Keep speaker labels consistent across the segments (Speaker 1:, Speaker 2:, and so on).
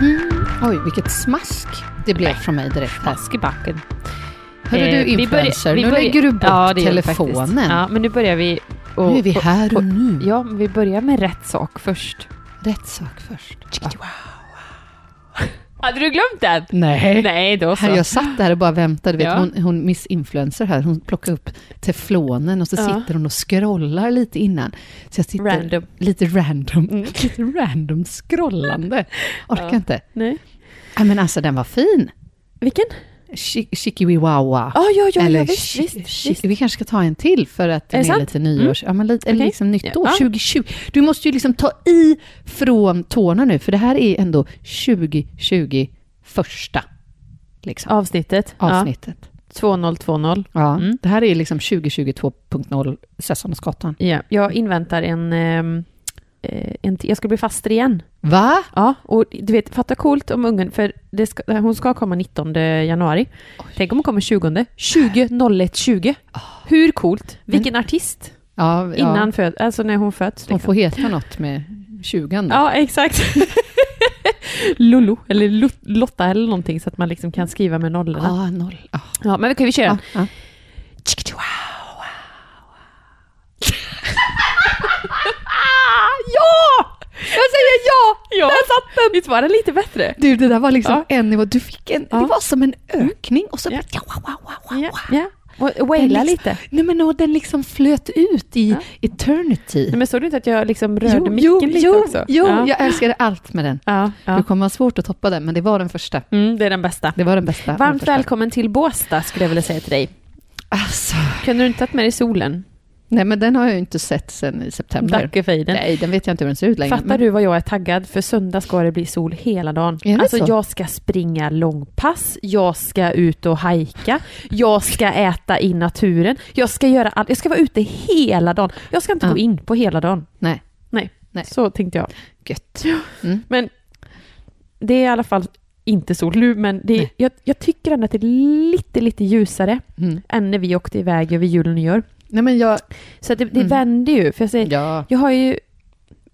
Speaker 1: Mm. Oj, vilket smask det blev
Speaker 2: Nej.
Speaker 1: från mig direkt här.
Speaker 2: Mask i backen.
Speaker 1: Hörru
Speaker 2: Eh,
Speaker 1: du
Speaker 2: vi börjar-
Speaker 1: influencer,
Speaker 2: vi
Speaker 1: nu
Speaker 2: börjar-
Speaker 1: lägger du bort
Speaker 2: Ja, det gör vi faktiskt.
Speaker 1: telefonen.
Speaker 2: Ja, men nu börjar vi... och-
Speaker 1: nu är vi
Speaker 2: och-
Speaker 1: här och nu.
Speaker 2: Ja, men vi börjar med rätt sak först.
Speaker 1: Rätt sak först.
Speaker 2: Hade du glömt den?
Speaker 1: Nej.
Speaker 2: Nej, då så.
Speaker 1: Här, jag satt där och bara väntade. Vet,
Speaker 2: Ja.
Speaker 1: hon, hon Miss Influencer här, hon plockade upp teflonen och så
Speaker 2: Ja.
Speaker 1: sitter hon och scrollar lite innan. Så jag sitter
Speaker 2: Random.
Speaker 1: lite random,
Speaker 2: Mm.
Speaker 1: lite random scrollande. Orkar
Speaker 2: Ja.
Speaker 1: inte.
Speaker 2: Nej.
Speaker 1: Nej, men alltså den var fin.
Speaker 2: Vilken?
Speaker 1: Chi- Chikiwiwawa.
Speaker 2: Ja, ja, ja, ja, visst,
Speaker 1: chi-
Speaker 2: visst,
Speaker 1: chi-
Speaker 2: visst.
Speaker 1: Vi kanske ska ta en till för att
Speaker 2: Är
Speaker 1: den
Speaker 2: det
Speaker 1: är,
Speaker 2: sant? Mm.
Speaker 1: lite nyårs... Ja, men lite, eller
Speaker 2: Okej.
Speaker 1: liksom nytt år,
Speaker 2: Ja.
Speaker 1: 2020. Du måste ju liksom ta i från tårna nu, för det här är ändå 2020 första liksom,
Speaker 2: Avsnittet.
Speaker 1: avsnittet.
Speaker 2: Ja, 2020.
Speaker 1: Ja.
Speaker 2: Mm.
Speaker 1: Det här är liksom 2022.0 Sessamsgatan.
Speaker 2: Ja, jag inväntar en... ehm, eh, en till- jag ska bli faster igen.
Speaker 1: Va?
Speaker 2: Ja, och du vet, fatta coolt om ungen, för det ska, hon ska komma 19 januari. Tänk om hon kommer 20. 20 01 20. Hur coolt? Vilken artist?
Speaker 1: Ja, ja.
Speaker 2: Innan föd, alltså när hon föds.
Speaker 1: Hon
Speaker 2: Liksom.
Speaker 1: får heta något med 20 då.
Speaker 2: Ja, exakt. Lolo, eller Lo- Lotta eller någonting, så att man liksom kan skriva med nollorna.
Speaker 1: ah, noll. Ah,
Speaker 2: Ja, men vi kan ju köra.
Speaker 1: ah, ah.
Speaker 2: Ja! Jag säger ja! ja! Där satt den! Visst var den lite bättre?
Speaker 1: Du, det där var liksom
Speaker 2: Ja.
Speaker 1: en nivå. Du fick en,
Speaker 2: Ja. Mm.
Speaker 1: det var som en ökning och så
Speaker 2: Ja.
Speaker 1: bara, ja. wow, wow, wow,
Speaker 2: Ja,
Speaker 1: wow.
Speaker 2: ja. Och
Speaker 1: Den
Speaker 2: waila
Speaker 1: liksom-
Speaker 2: lite.
Speaker 1: Nej men och den liksom flöt ut i
Speaker 2: Ja.
Speaker 1: eternity.
Speaker 2: Nej, men såg du inte att jag liksom rörde micken
Speaker 1: jo,
Speaker 2: lite
Speaker 1: jo,
Speaker 2: också?
Speaker 1: jo
Speaker 2: ja.
Speaker 1: jag älskade allt med den.
Speaker 2: Ja, ja.
Speaker 1: Du kommer ha svårt att toppa den, men det var den första.
Speaker 2: Mm, det är den bästa.
Speaker 1: Det var den bästa. den
Speaker 2: Varmt
Speaker 1: första.
Speaker 2: välkommen till Båstad skulle jag vilja säga till dig.
Speaker 1: Alltså,
Speaker 2: Kunde du inte tagit med dig solen?
Speaker 1: nej men den har jag ju inte sett sedan i september.
Speaker 2: Dackefejden.
Speaker 1: Nej, den vet jag inte hur den ser ut längre.
Speaker 2: Fattar
Speaker 1: men-
Speaker 2: du vad jag är taggad? För söndag ska det bli sol hela dagen.
Speaker 1: Är det
Speaker 2: Alltså
Speaker 1: så?
Speaker 2: jag ska springa långpass, jag ska ut och hajka, jag ska äta i naturen, jag ska göra allt, jag ska vara ute hela dagen. Jag ska inte
Speaker 1: Ja.
Speaker 2: gå in på hela dagen.
Speaker 1: Nej,
Speaker 2: Nej.
Speaker 1: Nej.
Speaker 2: så tänkte jag.
Speaker 1: gött. Mm,
Speaker 2: Men det är i alla fall inte sol nu, men det är,
Speaker 1: Nej.
Speaker 2: jag, jag tycker ändå att det är lite, lite ljusare
Speaker 1: Mm.
Speaker 2: än när vi åkte iväg över jul och nyår.
Speaker 1: Nej men jag...
Speaker 2: Så att det, det
Speaker 1: Mm.
Speaker 2: vänder ju. För jag, säger,
Speaker 1: Ja.
Speaker 2: jag har ju...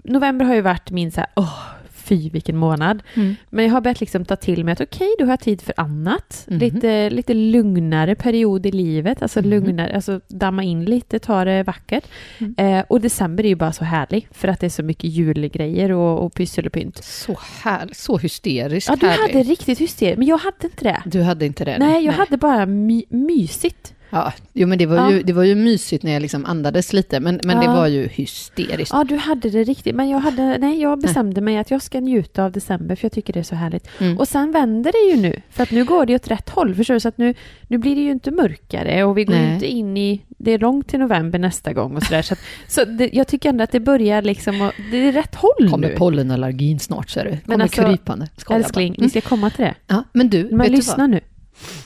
Speaker 2: November har ju varit min så här, åh, fy vilken månad.
Speaker 1: Mm.
Speaker 2: Men jag har börjat liksom ta till mig att okej, då har jag tid för annat.
Speaker 1: Mhm.
Speaker 2: Lite, lite lugnare period i livet, alltså
Speaker 1: Mhm.
Speaker 2: lugnare, alltså damma in lite, ta det vackert.
Speaker 1: Mm.
Speaker 2: Eh, och december är ju bara så härlig, för att det är så mycket julgrejer och, och pyssel och pynt.
Speaker 1: Så härlig, så hysteriskt
Speaker 2: Ja, du
Speaker 1: härlig.
Speaker 2: hade riktigt hysteriskt, men jag hade inte det.
Speaker 1: Du hade inte det?
Speaker 2: Nej, jag hade bara my, mysigt.
Speaker 1: Ja, jo, men det var,
Speaker 2: Ja.
Speaker 1: ju, det var ju mysigt när jag liksom andades lite, men, men det
Speaker 2: Ja.
Speaker 1: var ju hysteriskt.
Speaker 2: Ja, du hade det riktigt. Men jag, hade, nej, jag bestämde mig att jag ska njuta av december för jag tycker det är så härligt.
Speaker 1: Mm.
Speaker 2: Och sen vänder det ju nu. För att nu går det ju åt rätt håll. Förstår du? Så att nu, nu blir det ju inte mörkare och vi går
Speaker 1: Nej.
Speaker 2: ju inte in i... Det är långt till november nästa gång och sådär. Så, att, så det, jag tycker ändå att det börjar liksom... att- det är rätt håll
Speaker 1: kommer
Speaker 2: Mm. nu.
Speaker 1: pollenallergin snart, ser du. Kommer
Speaker 2: alltså,
Speaker 1: krypande. Skojar bara.
Speaker 2: Älskling, vi
Speaker 1: Mm.
Speaker 2: ska komma till det.
Speaker 1: Ja, men du, vet
Speaker 2: Men
Speaker 1: du
Speaker 2: lyssna
Speaker 1: vad?
Speaker 2: nu.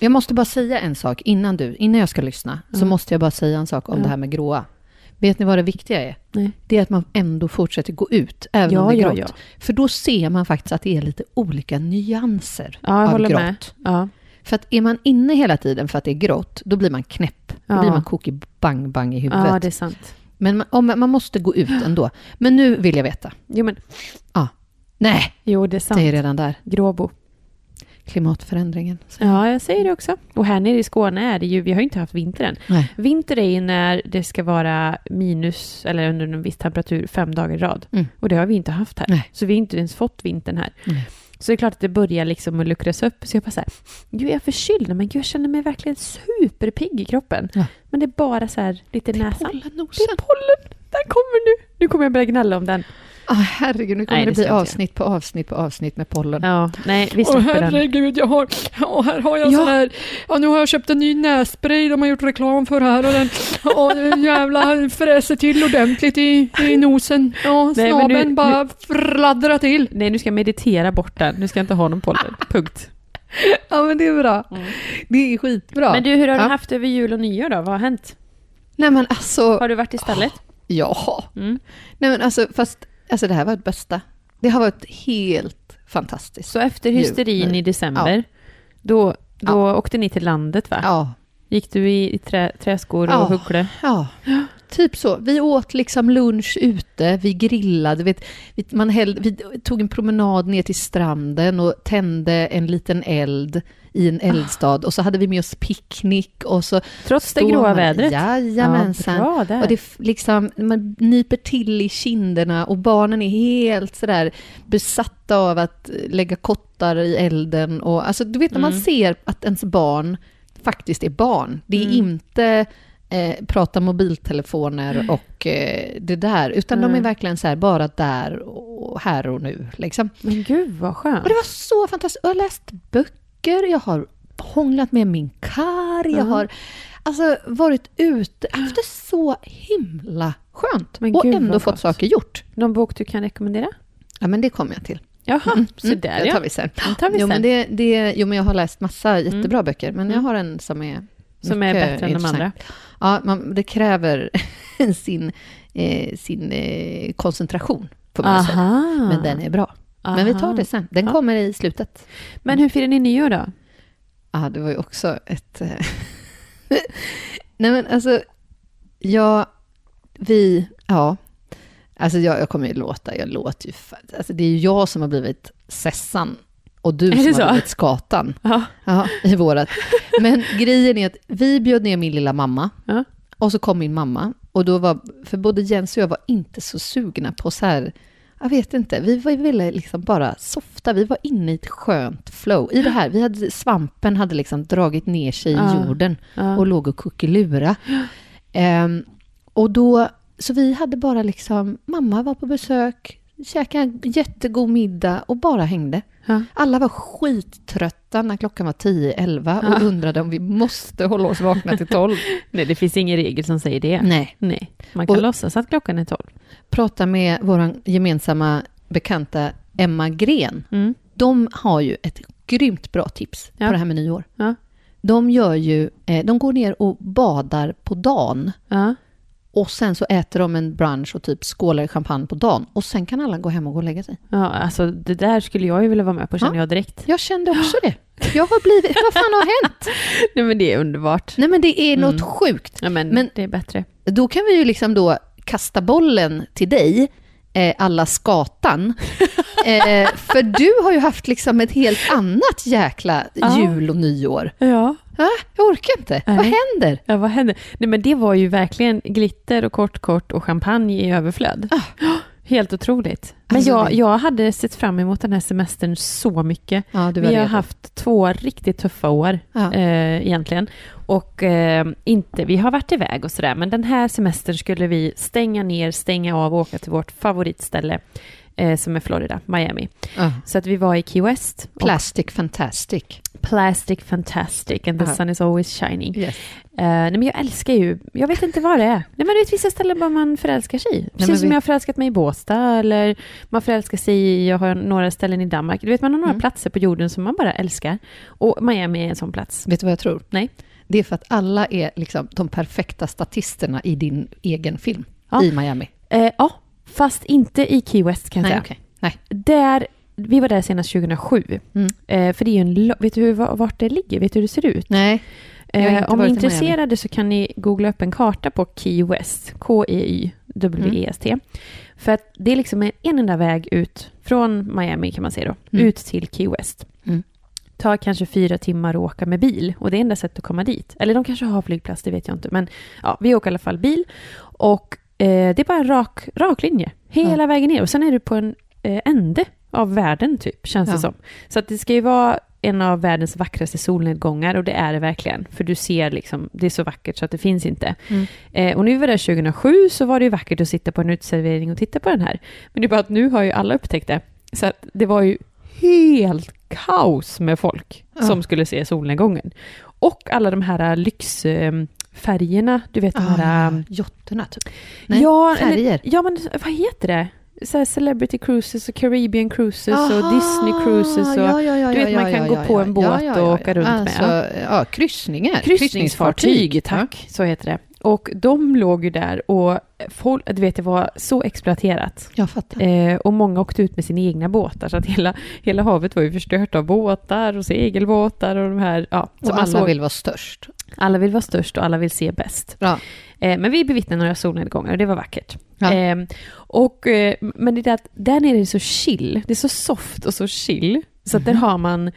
Speaker 1: Jag måste bara säga en sak innan du, innan jag ska lyssna, så
Speaker 2: Mm.
Speaker 1: måste jag bara säga en sak om
Speaker 2: Ja.
Speaker 1: det här med gråa. Vet ni vad det viktiga är?
Speaker 2: Nej.
Speaker 1: Det är att man ändå fortsätter gå ut, även
Speaker 2: Ja,
Speaker 1: om det är
Speaker 2: ja,
Speaker 1: grått.
Speaker 2: ja.
Speaker 1: För då ser man faktiskt att det är lite olika nyanser
Speaker 2: Ja, jag
Speaker 1: av
Speaker 2: håller
Speaker 1: grått.
Speaker 2: med. Ja.
Speaker 1: För att är man inne hela tiden för att det är grått, då blir man knäpp. Då
Speaker 2: Ja.
Speaker 1: blir man kokig bang-bang i huvudet.
Speaker 2: ja, det är sant.
Speaker 1: Men man, om, man måste gå ut ändå. Men nu vill jag veta.
Speaker 2: Jo, men,
Speaker 1: Nej,
Speaker 2: jo det är sant.
Speaker 1: det är redan där.
Speaker 2: Gråbo.
Speaker 1: Klimatförändringen.
Speaker 2: Ja, jag säger det också. Och här nere i Skåne är det ju, vi har ju inte haft vinter än.
Speaker 1: Nej.
Speaker 2: Vinter är ju när det ska vara minus, eller under en viss temperatur, fem dagar i rad.
Speaker 1: Mm.
Speaker 2: Och det har vi inte haft här.
Speaker 1: Nej.
Speaker 2: Så vi har inte ens fått vintern här.
Speaker 1: Nej.
Speaker 2: Så det är klart att det börjar liksom att luckras upp. Så jag bara så här, gud jag är förkyld, men gud jag känner mig verkligen superpigg i kroppen.
Speaker 1: Ja.
Speaker 2: Men det är bara så här lite näsan. Det
Speaker 1: Pollennosen.
Speaker 2: är pollen, den kommer nu. Nu kommer jag börja gnälla om den.
Speaker 1: Ah, herregud, nu kommer
Speaker 2: Nej,
Speaker 1: det,
Speaker 2: det
Speaker 1: bli
Speaker 2: ska jag inte
Speaker 1: avsnitt på avsnitt på avsnitt med pollen.
Speaker 2: Ja, nej, vi släpper den.
Speaker 3: jag har, ja, här har jag
Speaker 2: Ja.
Speaker 3: sån här, ja nu har jag köpt en ny nässpray de har gjort reklam för här och den, ja den jävla fräser till ordentligt i, i nosen. Ja,
Speaker 2: Nej, men
Speaker 3: snabeln
Speaker 2: nu-
Speaker 3: bara fladdrar till.
Speaker 2: Nej, nu ska jag meditera bort den. Nu ska jag inte ha någon pollen. Punkt.
Speaker 1: Ja, men det är bra.
Speaker 3: Mm.
Speaker 1: Det är skitbra.
Speaker 2: Men du, hur har
Speaker 1: Ja.
Speaker 2: du haft över jul och nyår då? Vad har hänt?
Speaker 1: Nej, men alltså...
Speaker 2: Har du varit i stallet?
Speaker 1: Ja.
Speaker 2: Mm.
Speaker 1: Nej, men alltså, fast alltså, det här var det bästa. Det har varit helt fantastiskt.
Speaker 2: Så efter
Speaker 1: Jul,
Speaker 2: hysterin
Speaker 1: nej.
Speaker 2: i december, då, då åkte ni till landet va?
Speaker 1: Ja.
Speaker 2: Gick du i, i trä, träskor och
Speaker 1: Ja.
Speaker 2: huckle?
Speaker 1: Ja. Typ så. Vi åt liksom lunch ute, vi grillade, vet, vi, man hällde, vi tog en promenad ner till stranden och tände en liten eld i
Speaker 2: Ah.
Speaker 1: en eldstad. Och så hade vi med oss picknick och så...
Speaker 2: Trots det
Speaker 1: står
Speaker 2: gråa
Speaker 1: man-
Speaker 2: vädret.
Speaker 1: Jajamensan.
Speaker 2: bra där.
Speaker 1: Och det f- liksom, man nyper till i kinderna och barnen är helt sådär besatta av att lägga kottar i elden. Och, alltså, du vet när man ser att ens barn faktiskt är barn. Det är inte eh, prata mobiltelefoner och eh, det där, utan de är verkligen så här bara där och här och nu. Liksom.
Speaker 2: Men gud vad skönt.
Speaker 1: Och det var så fantastiskt. Jag har läst böcker, jag har hånglat med min kar, jag har alltså, varit ute. Jag har haft det så himla skönt.
Speaker 2: Men
Speaker 1: och
Speaker 2: gud,
Speaker 1: ändå
Speaker 2: vad
Speaker 1: fått
Speaker 2: gott.
Speaker 1: saker gjort.
Speaker 2: Någon bok du kan rekommendera?
Speaker 1: Ja, men det kommer jag till.
Speaker 2: Jaha, så där
Speaker 1: det
Speaker 2: ja.
Speaker 1: Mm, tar vi sen.
Speaker 2: Den tar vi
Speaker 1: Jo,
Speaker 2: sen.
Speaker 1: men det, det, jo, men jag har läst massa jättebra böcker, men jag har en som är
Speaker 2: Mm. Som är
Speaker 1: mycket
Speaker 2: bättre än de
Speaker 1: intressant.
Speaker 2: andra.
Speaker 1: Ja, man, det kräver sin, eh, sin eh, koncentration, får man säga.
Speaker 2: Aha.
Speaker 1: Men den är bra. Men vi tar det sen. Den
Speaker 2: Ja.
Speaker 1: kommer i slutet.
Speaker 2: Men hur firar ni nyår då?
Speaker 1: Ja, det var ju också ett... eh, Nej men alltså, ja, vi, ja. Alltså jag, jag kommer ju låta, jag låter ju... fa- Alltså det är ju jag som har blivit Sessan och du
Speaker 2: det
Speaker 1: som har
Speaker 2: så?
Speaker 1: blivit Skatan.
Speaker 2: Ja.
Speaker 1: Ja, i vårat. Men grejen är att vi bjöd ner min lilla mamma
Speaker 2: Ja.
Speaker 1: och så kom min mamma. Och då var, för både Jens och jag var inte så sugna på så här, jag vet inte, vi var- ville liksom bara softa, vi var inne i ett skönt flow. I det här, vi hade, svampen hade liksom dragit ner sig i
Speaker 2: Ja.
Speaker 1: jorden
Speaker 2: Ja.
Speaker 1: och låg och kuckelura. Ehm, och då, så vi hade bara liksom, mamma var på besök, käkade en jättegod middag och bara hängde.
Speaker 2: Ja.
Speaker 1: Alla var skittrötta när klockan var 10-11 och undrade om vi måste hålla oss vakna till 12.
Speaker 2: Nej, det finns ingen regel som säger det.
Speaker 1: Nej.
Speaker 2: Nej. Man kan
Speaker 1: Och-
Speaker 2: låtsas att klockan är tolv.
Speaker 1: Prata med vår gemensamma bekanta Emma Gren. De har ju ett grymt bra tips
Speaker 2: Ja.
Speaker 1: på det här med nyår.
Speaker 2: Ja.
Speaker 1: De, gör ju, eh, de går ner och badar på dagen
Speaker 2: Ja.
Speaker 1: och sen så äter de en brunch och typ skålar i champagne på dagen och sen kan alla gå hem och gå och lägga sig.
Speaker 2: ja, alltså det där skulle jag ju vilja vara med på känner
Speaker 1: Ja.
Speaker 2: jag direkt.
Speaker 1: Jag kände också det. Jag har blivit, vad fan har hänt? Mm.
Speaker 2: Nej men det är underbart.
Speaker 1: Nej men det är något sjukt.
Speaker 2: Ja, men,
Speaker 1: Men-
Speaker 2: det är bättre.
Speaker 1: Då kan vi ju liksom då kasta bollen till dig, eh, alla skatan. Eh, för du har ju haft liksom ett helt annat jäkla
Speaker 2: Ja.
Speaker 1: jul och nyår.
Speaker 2: Ja.
Speaker 1: Ah, jag orkar inte. Vad
Speaker 2: Nej.
Speaker 1: händer?
Speaker 2: ja, vad hände? Nej men det var ju verkligen glitter och kortkort och champagne i överflöd. Ja, Helt otroligt.
Speaker 1: Ah.
Speaker 2: Men
Speaker 1: Alltså,
Speaker 2: jag,
Speaker 1: det-
Speaker 2: jag hade sett fram emot den här semestern så mycket.
Speaker 1: Ja, du var
Speaker 2: Vi har
Speaker 1: redo.
Speaker 2: haft två riktigt tuffa år
Speaker 1: Ja.
Speaker 2: eh, egentligen. Och eh, inte, vi har varit iväg och sådär, men den här semestern skulle vi stänga ner, stänga av och åka till vårt favoritställe eh, som är Florida, Miami.
Speaker 1: Ja.
Speaker 2: Så att vi var i Key West. och
Speaker 1: Plastic fantastic.
Speaker 2: Plastic fantastic and the
Speaker 1: Ja.
Speaker 2: sun is always shining.
Speaker 1: Yes.
Speaker 2: Eh, nej men jag älskar ju, jag vet inte vad det är. Nej men det är vissa ställen bara man förälskar sig i. Precis
Speaker 1: men
Speaker 2: som
Speaker 1: vi-
Speaker 2: jag har förälskat mig i Båstad eller man förälskar sig i, jag har några ställen i Danmark. Du vet man har
Speaker 1: Mm.
Speaker 2: några platser på jorden som man bara älskar. Och Miami är en sån plats.
Speaker 1: Vet du vad jag tror?
Speaker 2: Nej.
Speaker 1: Det är för att alla är liksom de perfekta statisterna i din egen film
Speaker 2: Ja.
Speaker 1: i Miami.
Speaker 2: Eh, ja, fast inte i Key West kan
Speaker 1: Nej,
Speaker 2: jag säga.
Speaker 1: okej. Nej.
Speaker 2: Där, vi var där senast 2007.
Speaker 1: Mm.
Speaker 2: Eh, för det är ju en, lo- vet du hur, va- vart det ligger? Vet du hur det ser ut?
Speaker 1: Nej. Jag har
Speaker 2: Eh,
Speaker 1: inte
Speaker 2: om ni är
Speaker 1: varit i Miami.
Speaker 2: intresserade så kan ni googla upp en karta på Key West, E K-E-Y-W-E-S-T. E
Speaker 1: Mm.
Speaker 2: För att det är liksom en, en enda väg ut från Miami kan man säga då,
Speaker 1: Mm.
Speaker 2: ut till Key West.
Speaker 1: Mm.
Speaker 2: Tar kanske fyra timmar att åka med bil och det är enda sättet att komma dit. Eller de kanske har flygplats, det vet jag inte. Men ja, vi åker i alla fall bil och eh, det är bara en rak, rak linje hela vägen ner. Och sen är du på en eh, ände av världen typ, känns
Speaker 1: Ja.
Speaker 2: det som. Så att det ska ju vara en av världens vackraste solnedgångar och det är det verkligen. För du ser liksom, det är så vackert så att det finns inte.
Speaker 1: Mm.
Speaker 2: Eh, och nu var det 2007 så var det ju vackert att sitta på en uteservering och titta på den här. Men det är bara att nu har ju alla upptäckt det. Så att det var ju helt kaos med folk
Speaker 1: Ja.
Speaker 2: som skulle se solnedgången. Och alla de här eh, lyxfärgerna, du vet de här... eh,
Speaker 1: Ah, jotterna, typ. Nej,
Speaker 2: ehm, ja, eller-
Speaker 1: färger.
Speaker 2: Ja, men vad heter det? Så här celebrity cruises och Caribbean cruises och
Speaker 1: Aha,
Speaker 2: Disney cruises och
Speaker 1: ja, ja, ja,
Speaker 2: du vet,
Speaker 1: ja,
Speaker 2: man kan
Speaker 1: ja,
Speaker 2: gå
Speaker 1: ja,
Speaker 2: på
Speaker 1: ja,
Speaker 2: en båt
Speaker 1: ja, ja,
Speaker 2: och
Speaker 1: ja.
Speaker 2: åka runt med.
Speaker 1: alltså, Ja, kryssningar.
Speaker 2: kryssningsfartyg, tack, så heter det. Och de låg ju där och folk, du vet, det var så exploaterat.
Speaker 1: Jag fattar.
Speaker 2: Eh, och många åkte ut med sina egna båtar, så att hela, hela havet var ju förstört av båtar och segelbåtar och de här, ja. så
Speaker 1: och
Speaker 2: man
Speaker 1: alla
Speaker 2: såg-
Speaker 1: vill vara störst.
Speaker 2: Alla vill vara störst och alla vill se bäst.
Speaker 1: Ja.
Speaker 2: Eh, men vi bevittnade några solnedgångar och det var vackert.
Speaker 1: Ja.
Speaker 2: Eh, och, eh, men det är det att där nere är det så chill. Det är så soft och så chill. Så att
Speaker 1: Mhm.
Speaker 2: där har man...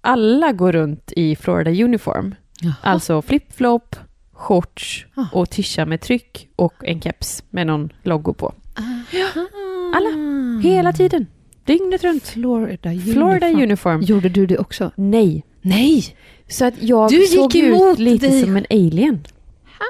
Speaker 2: Alla går runt i Florida uniform.
Speaker 1: Jaha.
Speaker 2: Alltså flip-flop, shorts
Speaker 1: Ah.
Speaker 2: och tisha med tryck och en keps med någon logo på. Alla. Hela tiden. Dygnet runt.
Speaker 1: Florida Mm. uniform.
Speaker 2: Florida uniform.
Speaker 1: Gjorde du det också?
Speaker 2: Nej.
Speaker 1: Nej!
Speaker 2: Så att jag
Speaker 1: Du gick
Speaker 2: såg
Speaker 1: emot
Speaker 2: ut lite
Speaker 1: dig.
Speaker 2: som en alien.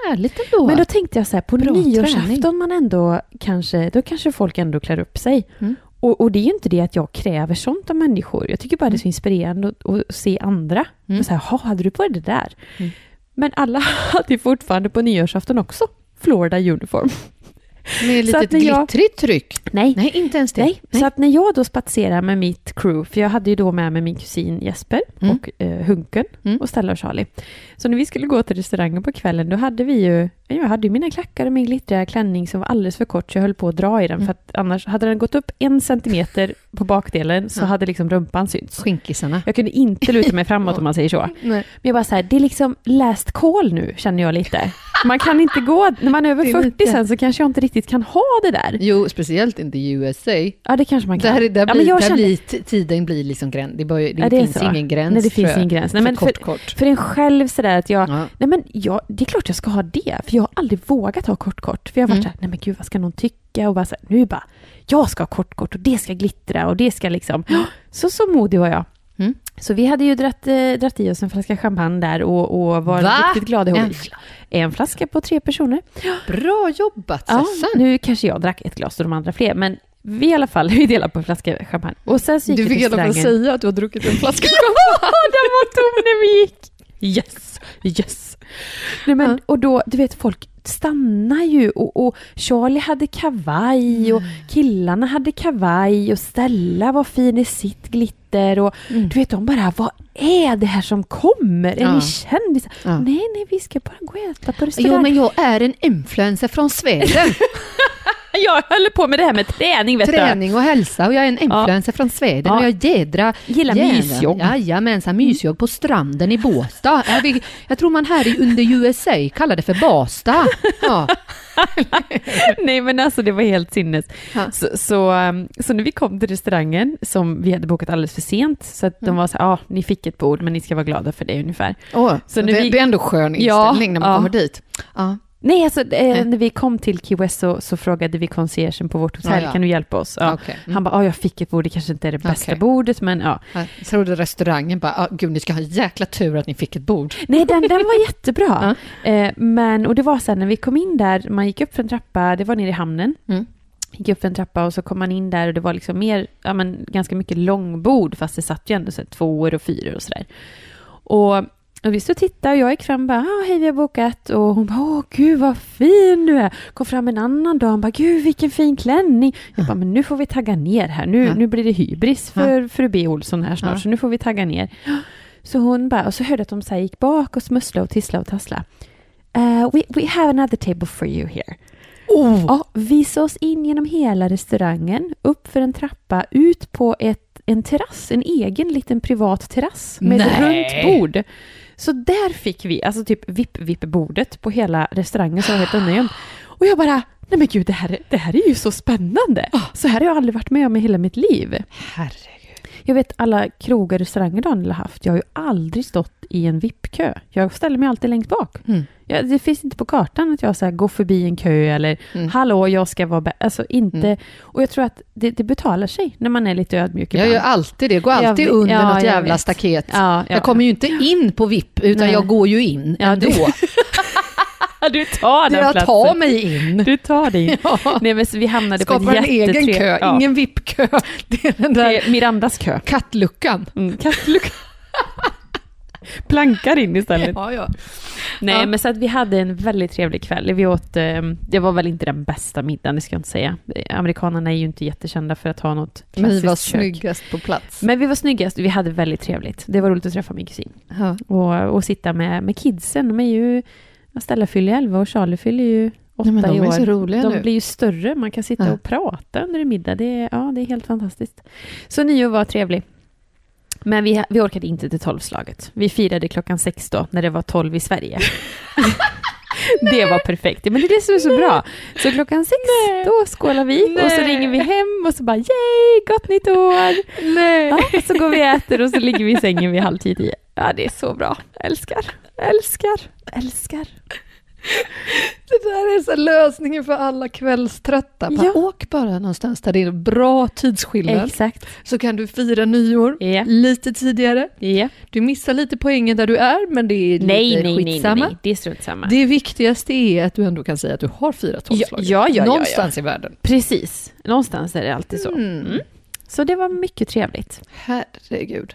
Speaker 1: Härligt ändå.
Speaker 2: Men då tänkte jag så här, på
Speaker 1: Bra
Speaker 2: nyårsafton
Speaker 1: träning.
Speaker 2: man ändå kanske, då kanske folk ändå klär upp sig.
Speaker 1: Mm.
Speaker 2: Och, och det är ju inte det att jag kräver sånt av människor. Jag tycker bara det är så inspirerande att, att se andra.
Speaker 1: Mm.
Speaker 2: Och så här, "Ha, hade du på dig det där?
Speaker 1: Mm.
Speaker 2: Men alla hade ju fortfarande på nyårsafton också Florida uniform.
Speaker 1: Med
Speaker 2: så
Speaker 1: lite
Speaker 2: att när jag-
Speaker 1: glittrigt tryck.
Speaker 2: Nej,
Speaker 1: Nej, inte ens det.
Speaker 2: Nej, så att när jag då spatserar med mitt crew, för jag hade ju då med mig min kusin Jesper
Speaker 1: Mm.
Speaker 2: och eh, Hunken
Speaker 1: Mm.
Speaker 2: och Stella och Charlie. Så när vi skulle gå till restaurangen på kvällen, då hade vi ju, jag hade ju mina klackar och min glittriga klänning som var alldeles för kort, så jag höll på att dra i den,
Speaker 1: Mm.
Speaker 2: för att annars hade den gått upp en centimeter på bakdelen så
Speaker 1: Ja.
Speaker 2: hade liksom rumpan synts.
Speaker 1: Skinkisarna.
Speaker 2: Jag kunde inte luta mig framåt om man säger så. Men
Speaker 1: Nej.
Speaker 2: jag bara så här, det är liksom last call nu, känner jag lite. Man kan inte gå, när man är över
Speaker 1: Det är
Speaker 2: 40
Speaker 1: lite-
Speaker 2: sen så kanske jag inte riktigt kan ha det där.
Speaker 1: Jo, speciellt inte i USA.
Speaker 2: Ja, det kanske man kan.
Speaker 1: Där, där,
Speaker 2: ja,
Speaker 1: blir,
Speaker 2: men jag
Speaker 1: där
Speaker 2: kände-
Speaker 1: blir t- tiden blir liksom gräns. Det, bör, ju- det
Speaker 2: Ja, är
Speaker 1: finns
Speaker 2: så.
Speaker 1: ingen gräns.
Speaker 2: Nej, det finns
Speaker 1: tror jag.
Speaker 2: ingen gräns. Nej, men
Speaker 1: för
Speaker 2: för,
Speaker 1: kort, kort.
Speaker 2: för en själv sådär att jag...
Speaker 1: Ja.
Speaker 2: Nej, men jag, det är klart jag ska ha det, för jag har aldrig vågat ha kort kort. För jag har varit
Speaker 1: Mm.
Speaker 2: såhär, nej men gud vad ska någon tycka? Och bara såhär, nu bara, jag ska ha kort kort och det ska glittra och det ska liksom... Så, så modig var jag.
Speaker 1: Mm.
Speaker 2: Så vi hade ju dratt, eh, dratt i oss en flaska champagne där och, och var
Speaker 1: Va?
Speaker 2: riktigt glada ihop.
Speaker 1: En
Speaker 2: En, en flaska på tre personer.
Speaker 1: Bra jobbat,
Speaker 2: Ja,
Speaker 1: Sessan.
Speaker 2: nu kanske jag drack ett glas och de andra fler, men vi i alla fall, vi delade på en flaska champagne. Och sen så gick
Speaker 1: du
Speaker 2: vi
Speaker 1: fick i
Speaker 2: till
Speaker 1: alla fall
Speaker 2: restaurangen.
Speaker 1: säga att du har druckit en flaska
Speaker 2: Ja, den var tom när vi gick. Yes, yes. Nej, men,
Speaker 1: Ja.
Speaker 2: Och då, du vet, folk stannar ju och, och Charlie hade kavaj
Speaker 1: Mm.
Speaker 2: och killarna hade kavaj och Stella var fin i sitt glitter och
Speaker 1: Mm.
Speaker 2: du vet, de bara, vad är det här som kommer? Är
Speaker 1: Ja.
Speaker 2: ni kändisar?
Speaker 1: Ja.
Speaker 2: Nej, nej, vi ska bara gå och äta på restaurang.
Speaker 1: Jo, men jag är en influencer från Sweden.
Speaker 2: Jag höll på med det här med träning, vet
Speaker 1: Träning och hälsa och jag är en influencer från Sweden
Speaker 2: Ja.
Speaker 1: och jag jädra
Speaker 2: Gillar Mm.
Speaker 1: jädra-
Speaker 2: mysjogg.
Speaker 1: Jajamensan, mysjogg på stranden i Båstad. Är vi- Jag tror man här i under USA kallar det för Basta. Ja.
Speaker 2: Nej men alltså det var helt sinnes.
Speaker 1: Ja.
Speaker 2: Så, så, um, så när vi kom till restaurangen, som vi hade bokat alldeles för sent, så att
Speaker 1: Mm.
Speaker 2: de var så här, ja ni fick ett bord men ni ska vara glada för det ungefär.
Speaker 1: Åh,
Speaker 2: Så när
Speaker 1: det,
Speaker 2: vi-
Speaker 1: det är ändå skön inställning
Speaker 2: Ja,
Speaker 1: när man
Speaker 2: ja.
Speaker 1: kommer dit. Ja.
Speaker 2: Nej alltså eh,
Speaker 1: Nej.
Speaker 2: när vi kom till Key West så, så frågade vi conciergen på vårt hotell,
Speaker 1: Ja, ja.
Speaker 2: kan du hjälpa oss? Ja.
Speaker 1: Okej.
Speaker 2: Han bara, ja jag fick ett bord, det kanske inte är det bästa
Speaker 1: Okej.
Speaker 2: bordet men ja.
Speaker 1: Jag trodde restaurangen bara, ah, gud ni ska ha en jäkla tur att ni fick ett bord.
Speaker 2: Nej, den, den var jättebra. Eh, men, och det var sen när vi kom in där, man gick upp för en trappa, det var nere i hamnen.
Speaker 1: Mm.
Speaker 2: Gick upp för en trappa och så kom man in där och det var liksom mer, ja men ganska mycket långbord fast det satt ju ändå så här tvåor och fyror och sådär. Och, och vi stod och tittade och jag gick fram och bara, ah, hej vi har bokat och hon bara, åh gud vad fin du är. Kom fram en annan dag och bara, gud vilken fin klänning. Jag bara, men nu får vi tagga ner här, nu,
Speaker 1: Ja.
Speaker 2: nu blir det hybris för fru B Olsson här snart
Speaker 1: Ja.
Speaker 2: så nu får vi tagga ner. Så hon bara, och så hörde jag att de så här gick bak och smusslade och tisslade och tasslade. Eh, we, we have another table for you here.
Speaker 1: Oh.
Speaker 2: Ja, visa oss in genom hela restaurangen, upp för en trappa, ut på ett, en terrass, en egen liten privat terrass med ett
Speaker 1: Nej.
Speaker 2: runt bord. Så där fick vi, alltså typ vipp-vipp-bordet på hela restaurangen som var helt undangömd. Och jag bara, nej men gud, det här, är- det här är ju så spännande. Så här har jag aldrig varit med om i hela mitt liv.
Speaker 1: Herregud.
Speaker 2: Jag vet alla krogar och restauranger Daniel har haft. Jag har ju aldrig stått i en VIP-kö. Jag ställer mig alltid längst bak.
Speaker 1: Mm.
Speaker 2: Ja, det finns inte på kartan att jag så här, går förbi en kö eller
Speaker 1: Mm.
Speaker 2: hallå, jag ska vara bä-" Alltså inte... Och jag tror att det, det betalar sig när man är lite ödmjuk
Speaker 1: Jag
Speaker 2: ibland.
Speaker 1: gör alltid det, går
Speaker 2: Jag
Speaker 1: alltid
Speaker 2: vet-
Speaker 1: under
Speaker 2: ja,
Speaker 1: något
Speaker 2: jag
Speaker 1: jävla
Speaker 2: vet.
Speaker 1: staket.
Speaker 2: Ja, ja.
Speaker 1: Jag kommer ju inte in på VIP, utan
Speaker 2: Nej.
Speaker 1: jag går ju in
Speaker 2: Ja, du-
Speaker 1: ändå.
Speaker 2: Du tar den
Speaker 1: jag
Speaker 2: platsen.
Speaker 1: tar mig in.
Speaker 2: Du tar dig
Speaker 1: Ja.
Speaker 2: Nej, men så vi hamnade på
Speaker 1: Skapar
Speaker 2: ett
Speaker 1: en egen
Speaker 2: jättetre-
Speaker 1: kö,
Speaker 2: Ja.
Speaker 1: ingen VIP-kö. Det är den där
Speaker 2: Det är Mirandas kö.
Speaker 1: kattluckan.
Speaker 2: Mm. Kattlucka. Plankar in istället.
Speaker 1: Ja, ja.
Speaker 2: Nej,
Speaker 1: Ja.
Speaker 2: men så att vi hade en väldigt trevlig kväll. Vi åt, eh, det var väl inte den bästa middagen, det ska jag inte säga. Eh, Amerikanerna är ju inte jättekända för att ha något
Speaker 1: Men vi
Speaker 2: klassiskt
Speaker 1: var
Speaker 2: kök.
Speaker 1: snyggast på plats.
Speaker 2: Men vi var snyggast, vi hade väldigt trevligt. Det var roligt att träffa min kusin
Speaker 1: Ja.
Speaker 2: och, och sitta med, med kidsen. De är ju, Stella fyller 11 och Charlie fyller ju 8
Speaker 1: Nej, men
Speaker 2: i
Speaker 1: de
Speaker 2: år.
Speaker 1: är så roliga
Speaker 2: de
Speaker 1: nu.
Speaker 2: blir ju större, man kan sitta
Speaker 1: Ja.
Speaker 2: och prata under en middag. Det är, ja, det är helt fantastiskt. Så nyår var trevlig. Men vi, vi orkade inte till tolvslaget. Vi firade klockan sex då, när det var tolv i Sverige. det var perfekt. Men det lyssnade så bra. Så klockan sex, då skålar vi och så
Speaker 3: Nej.
Speaker 2: ringer vi hem och så bara yay, gott nytt år!
Speaker 3: Nej.
Speaker 2: Ja, och så går vi och äter och så ligger vi i sängen vid halv tio. Ja, det är så bra. Älskar, älskar, älskar.
Speaker 1: Det där är så lösningen för alla kvällströtta. Bara,
Speaker 2: Ja.
Speaker 1: Åk bara någonstans där det är bra tidsskillnad.
Speaker 2: Exakt.
Speaker 1: så kan du fira nyår
Speaker 2: Ja.
Speaker 1: lite tidigare.
Speaker 2: Ja.
Speaker 1: Du missar lite poängen där du är, men det är
Speaker 2: Nej,
Speaker 1: lite
Speaker 2: nej, nej, nej,
Speaker 1: skitsamma.
Speaker 2: nej, det är strunt samma.
Speaker 1: Det viktigaste är att du ändå kan säga att du har firat tolvslaget.
Speaker 2: Ja, ja, ja, ja.
Speaker 1: Någonstans i världen.
Speaker 2: Precis, någonstans är det alltid så.
Speaker 1: Mm.
Speaker 2: Så det var mycket trevligt.
Speaker 1: Herregud.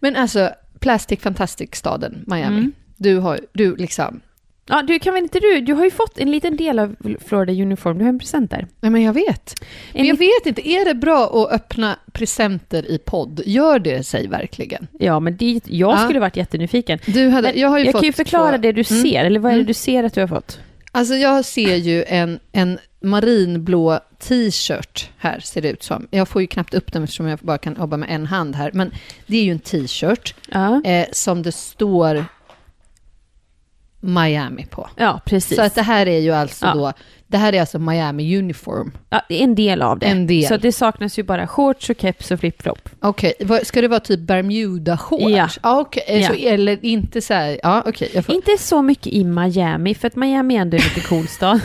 Speaker 1: Men alltså, Plastic Fantastic-staden Miami.
Speaker 2: Mm.
Speaker 1: Du har du liksom...
Speaker 2: Ja, du, kan väl inte du, du har ju fått en liten del av Florida Uniform, du har en present där.
Speaker 1: Nej, men jag vet.
Speaker 2: En
Speaker 1: Men jag
Speaker 2: lit-
Speaker 1: vet inte, är det bra att öppna presenter i podd? Gör det sig verkligen?
Speaker 2: Ja, men det, jag
Speaker 1: Ja.
Speaker 2: skulle varit jättenyfiken.
Speaker 1: Du hade,
Speaker 2: Men
Speaker 1: jag har ju
Speaker 2: Jag
Speaker 1: fått
Speaker 2: kan ju förklara
Speaker 1: två-
Speaker 2: det du
Speaker 1: Mm.
Speaker 2: ser, eller vad är det
Speaker 1: Mm.
Speaker 2: du ser att du har fått?
Speaker 1: Alltså jag ser ju en, en marinblå t-shirt här, ser det ut som. Jag får ju knappt upp den eftersom jag bara kan jobba med en hand här. Men det är ju en t-shirt
Speaker 2: Ja,
Speaker 1: eh, som det står Miami på.
Speaker 2: ja precis.
Speaker 1: Så att det här är ju alltså
Speaker 2: Ja.
Speaker 1: då, det här är alltså Miami Uniform.
Speaker 2: ja, det är en del av det.
Speaker 1: En del.
Speaker 2: Så att det saknas ju bara shorts och keps och flip-flop.
Speaker 1: Okej, vad- ska det vara typ Bermuda-shorts?
Speaker 2: Ja.
Speaker 1: okej, eh, så- Eller inte så här, ja okej. jag får-
Speaker 2: Inte så mycket i Miami, för att Miami är ändå en lite cool stad.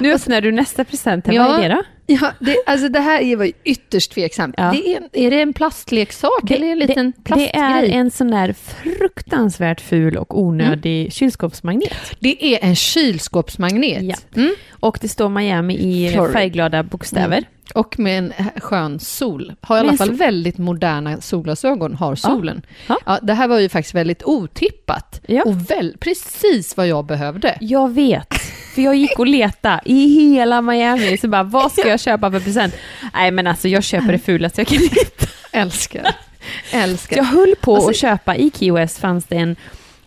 Speaker 2: Nu öppnar du nästa present här, vad
Speaker 1: Ja.
Speaker 2: är det då?
Speaker 1: Ja, det, alltså det här är ju ytterst tveksamt.
Speaker 2: Ja.
Speaker 1: Det är, är det en plastleksak eller en liten
Speaker 2: det, det är
Speaker 1: plastgrej?
Speaker 2: en sån där fruktansvärt ful och onödig
Speaker 1: Mm.
Speaker 2: kylskåpsmagnet.
Speaker 1: Det är en kylskåpsmagnet.
Speaker 2: Ja.
Speaker 1: Mm.
Speaker 2: Och det står Miami i
Speaker 1: Florida.
Speaker 2: färgglada bokstäver.
Speaker 1: Mm. Och med en skön sol. Har i
Speaker 2: Med
Speaker 1: alla
Speaker 2: en
Speaker 1: fall
Speaker 2: sol.
Speaker 1: väldigt moderna solglasögon, har solen.
Speaker 2: Ja.
Speaker 1: Ja, det här var ju faktiskt väldigt otippat.
Speaker 2: Ja.
Speaker 1: Och väl, precis vad jag behövde.
Speaker 2: Jag vet, för jag gick och letade i hela Miami. Så bara, vad ska jag köpa för present? Nej men alltså jag köper det fulaste jag kan hitta.
Speaker 1: Älskar. Älskar.
Speaker 2: Jag höll på
Speaker 1: Alltså-
Speaker 2: att köpa, i Key West fanns det en,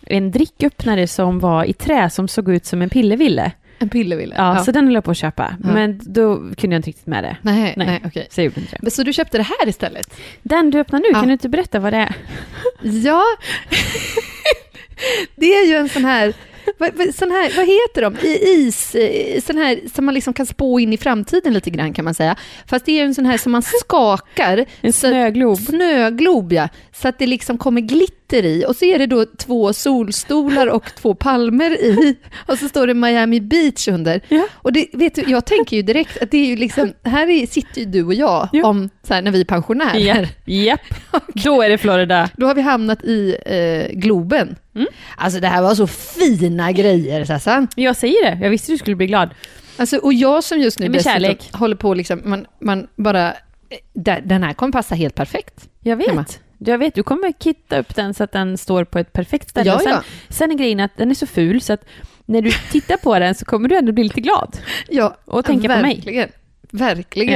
Speaker 2: en dricköppnare som var i trä som såg ut som en pilleville.
Speaker 1: En pillerville.
Speaker 2: Ja, Så den höll jag på att köpa,
Speaker 1: Ja.
Speaker 2: men då kunde jag inte riktigt med det.
Speaker 1: Nej, nej,
Speaker 2: Nej.
Speaker 1: okej.
Speaker 2: Så jag gjorde inte det.
Speaker 1: Men Så du köpte det här istället?
Speaker 2: Den du öppnar nu,
Speaker 1: Ja.
Speaker 2: kan du inte berätta vad det är?
Speaker 1: Ja, det är ju en sån här, vad, vad- sån här, vad heter de, I, is, eh, sån här som man liksom kan spå in i framtiden lite grann kan man säga. Fast det är ju en sån här som man skakar.
Speaker 2: En
Speaker 1: så att-
Speaker 2: snöglob.
Speaker 1: Snöglob ja, så att det liksom kommer glitter i. Och så är det då två solstolar och två palmer i. Och så står det Miami Beach under.
Speaker 2: Ja.
Speaker 1: Och det, vet du, jag tänker ju direkt att det är ju liksom, här är, sitter ju du och jag
Speaker 2: Ja.
Speaker 1: om, så här, när vi är pensionärer.
Speaker 2: Japp, japp. Då är det Florida.
Speaker 1: Då har vi hamnat i eh, Globen. Alltså det här var så fina grejer Sassan.
Speaker 2: Jag säger det, jag visste du skulle bli glad.
Speaker 1: Alltså, och jag som just nu
Speaker 2: Nej, men
Speaker 1: dessutom
Speaker 2: kärlek.
Speaker 1: håller på liksom, man, man bara, eh, där- den här kommer passa helt perfekt.
Speaker 2: Jag
Speaker 1: Emma.
Speaker 2: vet. Jag vet, du kommer kitta upp den så att den står på ett perfekt ställe.
Speaker 1: Ja,
Speaker 2: Och sen,
Speaker 1: ja.
Speaker 2: sen är grejen att den är så ful så att när du tittar på den så kommer du ändå bli lite glad.
Speaker 1: Ja,
Speaker 2: Och tänka på mig.
Speaker 1: verkligen. Verkligen.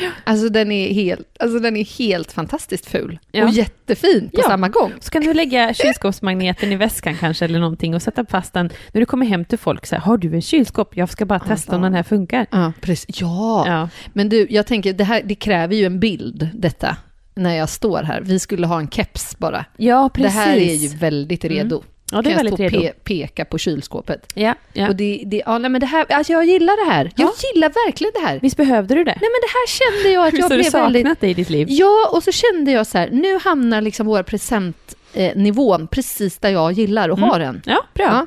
Speaker 2: Ja.
Speaker 1: Alltså, den är helt, alltså den är helt fantastiskt ful.
Speaker 2: Ja.
Speaker 1: Och jättefin på
Speaker 2: Ja.
Speaker 1: samma gång.
Speaker 2: Så kan du lägga kylskåpsmagneten i väskan kanske eller någonting och sätta fast den när du kommer hem till folk. Så här, har du en kylskåp? Jag ska bara testa om den här funkar.
Speaker 1: Ja, precis. Ja.
Speaker 2: Ja.
Speaker 1: men du, jag tänker, det här det kräver ju en bild, detta, när jag står här. Vi skulle ha en keps bara.
Speaker 2: Ja, precis.
Speaker 1: Det här är ju väldigt redo.
Speaker 2: Ja, det
Speaker 1: kan
Speaker 2: är
Speaker 1: jag
Speaker 2: väldigt
Speaker 1: stå och
Speaker 2: redo.
Speaker 1: pe- peka på kylskåpet.
Speaker 2: Ja, ja.
Speaker 1: Och det, det, ja, nej, men det här, alltså jag gillar det här. Jag gillar verkligen det här.
Speaker 2: Visst behövde du det?
Speaker 1: Nej, men det här kände jag att
Speaker 2: Visst
Speaker 1: jag
Speaker 2: har du
Speaker 1: blev
Speaker 2: saknat
Speaker 1: väldigt...
Speaker 2: det i ditt liv?
Speaker 1: Ja, och så kände jag så här, nu hamnar liksom vår presentnivån precis där jag gillar att ha den.
Speaker 2: Ja, bra. Mm.
Speaker 1: Ja.
Speaker 2: Ja.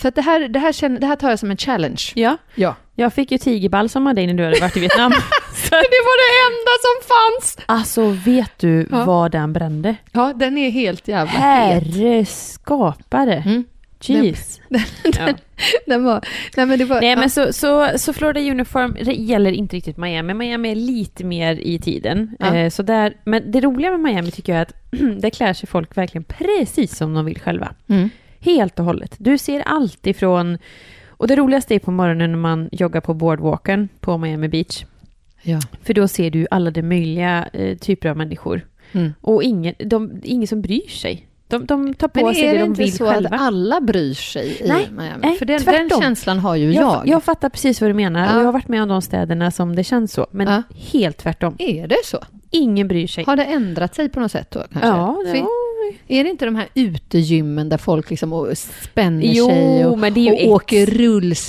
Speaker 1: För att det här, det, här känner, det här tar jag som en challenge. Ja.
Speaker 2: Jag fick ju tigerbalsam av dig när du hade varit i Vietnam. Så att-
Speaker 1: Det var det enda som fanns!
Speaker 2: Alltså, vet du
Speaker 1: Ja.
Speaker 2: vad den brände?
Speaker 1: Ja, den är helt jävla het.
Speaker 2: Herre skapare.
Speaker 1: Mm.
Speaker 2: Jeez. Ja.
Speaker 1: Den var, nej men det var...
Speaker 2: Nej men
Speaker 1: ja.
Speaker 2: så, så, så Florida Uniform re- gäller inte riktigt Miami. Miami är lite mer i tiden.
Speaker 1: Ja.
Speaker 2: Eh, så där, men det roliga med Miami tycker jag är att där klär sig folk verkligen precis som de vill själva.
Speaker 1: Mm.
Speaker 2: Helt och hållet. Du ser allt ifrån... Och det roligaste är på morgonen när man joggar på boardwalken på Miami Beach.
Speaker 1: Ja.
Speaker 2: För då ser du alla de möjliga eh, typer av människor.
Speaker 1: Mm.
Speaker 2: Och ingen, de, ingen som bryr sig. De, de tar på
Speaker 1: Men
Speaker 2: sig
Speaker 1: är det
Speaker 2: det, de
Speaker 1: inte
Speaker 2: vill
Speaker 1: så
Speaker 2: själva.
Speaker 1: att alla bryr sig
Speaker 2: Nej,
Speaker 1: i Miami?
Speaker 2: nej,
Speaker 1: För den, den
Speaker 2: tvärtom.
Speaker 1: känslan har ju jag.
Speaker 2: jag, jag fattar precis vad du menar
Speaker 1: Ja.
Speaker 2: och jag har varit med om de städerna som det känns så. Men
Speaker 1: Ja.
Speaker 2: helt tvärtom.
Speaker 1: Är det så?
Speaker 2: Ingen bryr sig.
Speaker 1: Har det ändrat sig på något sätt då kanske?
Speaker 2: Ja, det,
Speaker 1: För Är det inte de här utegymmen där folk liksom och spänner sig och,
Speaker 2: men det
Speaker 1: och
Speaker 2: ett-
Speaker 1: åker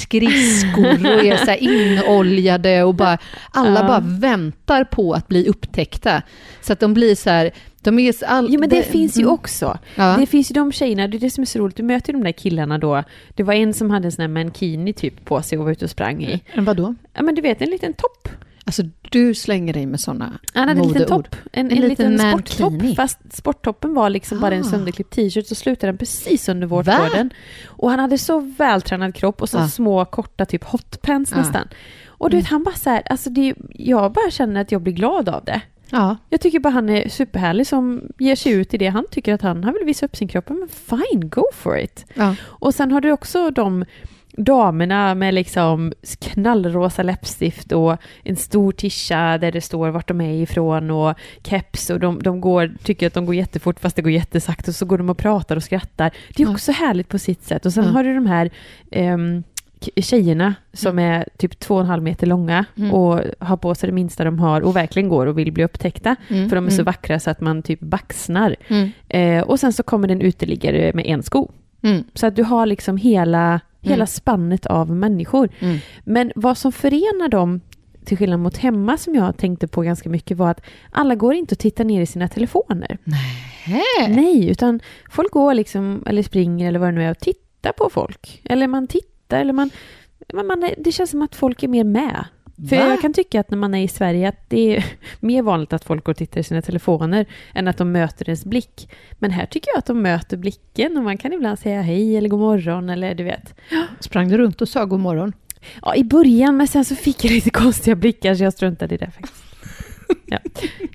Speaker 1: rullskridskor och är så här inoljade och bara, alla
Speaker 2: Ja.
Speaker 1: bara väntar på att bli upptäckta. Så att de blir så här, de är så all, mm.
Speaker 2: Jo men det, finns ju också.
Speaker 1: Ja.
Speaker 2: Det finns ju de tjejerna, det är det som är så roligt, du möter ju de där killarna då. Det var en som hade en sån här mankini typ på sig och var ute och sprang i.
Speaker 1: Men Vadå?
Speaker 2: Ja men du vet en liten topp.
Speaker 1: Alltså du slänger dig med sådana
Speaker 2: Han hade en liten
Speaker 1: modeord.
Speaker 2: topp, en,
Speaker 1: En liten
Speaker 2: en, liten,
Speaker 1: mankini.
Speaker 2: sporttopp. Fast sporttoppen var liksom bara en
Speaker 1: Ah.
Speaker 2: sönderklippt t-shirt, så slutade den precis under
Speaker 1: Va?
Speaker 2: vårtgården. Och han hade så vältränad kropp och så
Speaker 1: Ah.
Speaker 2: små korta typ hotpants
Speaker 1: Ah. Mm.
Speaker 2: nästan. Och du vet, han bara så här, alltså det, är- jag bara känner att jag blir glad av det.
Speaker 1: Ja,
Speaker 2: Jag tycker bara han är superhärlig som ger sig ut i det han tycker att han, han vill visa upp sin kropp. Men fine, go for it.
Speaker 1: ja.
Speaker 2: Och sen har du också de damerna med liksom knallrosa läppstift och en stor tisha där det står vart de är ifrån och keps och de, de går, tycker att de går jättefort fast det går jättesakt och så går de och pratar och skrattar. Det är
Speaker 1: Ja.
Speaker 2: också härligt på sitt sätt. Och sen
Speaker 1: Ja.
Speaker 2: har du de här ehm, k- tjejerna som är typ två och en halv meter långa
Speaker 1: Mm.
Speaker 2: och har på sig det minsta de har och verkligen går och vill bli upptäckta.
Speaker 1: Mm,
Speaker 2: För de är så
Speaker 1: mm,
Speaker 2: vackra så att man typ baxnar.
Speaker 1: Mm.
Speaker 2: Eh, och sen så kommer den uteliggare med en sko.
Speaker 1: Mm.
Speaker 2: Så att du har liksom hela, hela
Speaker 1: Mm.
Speaker 2: spannet av människor.
Speaker 1: Mm.
Speaker 2: Men vad som förenar dem, till skillnad mot hemma som jag tänkte på ganska mycket, var att alla går inte och tittar ner i sina telefoner.
Speaker 1: Hä?
Speaker 2: Nej, utan folk går liksom, eller springer eller vad det nu är och tittar på folk. Eller man tittar, eller man... Men man är, det känns som att folk är mer med. För
Speaker 1: Va?
Speaker 2: jag kan tycka att när man är i Sverige att det är mer vanligt att folk går och tittar i sina telefoner än att de möter ens blick. Men här tycker jag att de möter blicken och man kan ibland säga hej eller god morgon eller du vet.
Speaker 1: Sprang du runt och sa god morgon?
Speaker 2: Ja, i början, men sen så fick jag lite konstiga blickar så jag struntade i det faktiskt. Ja,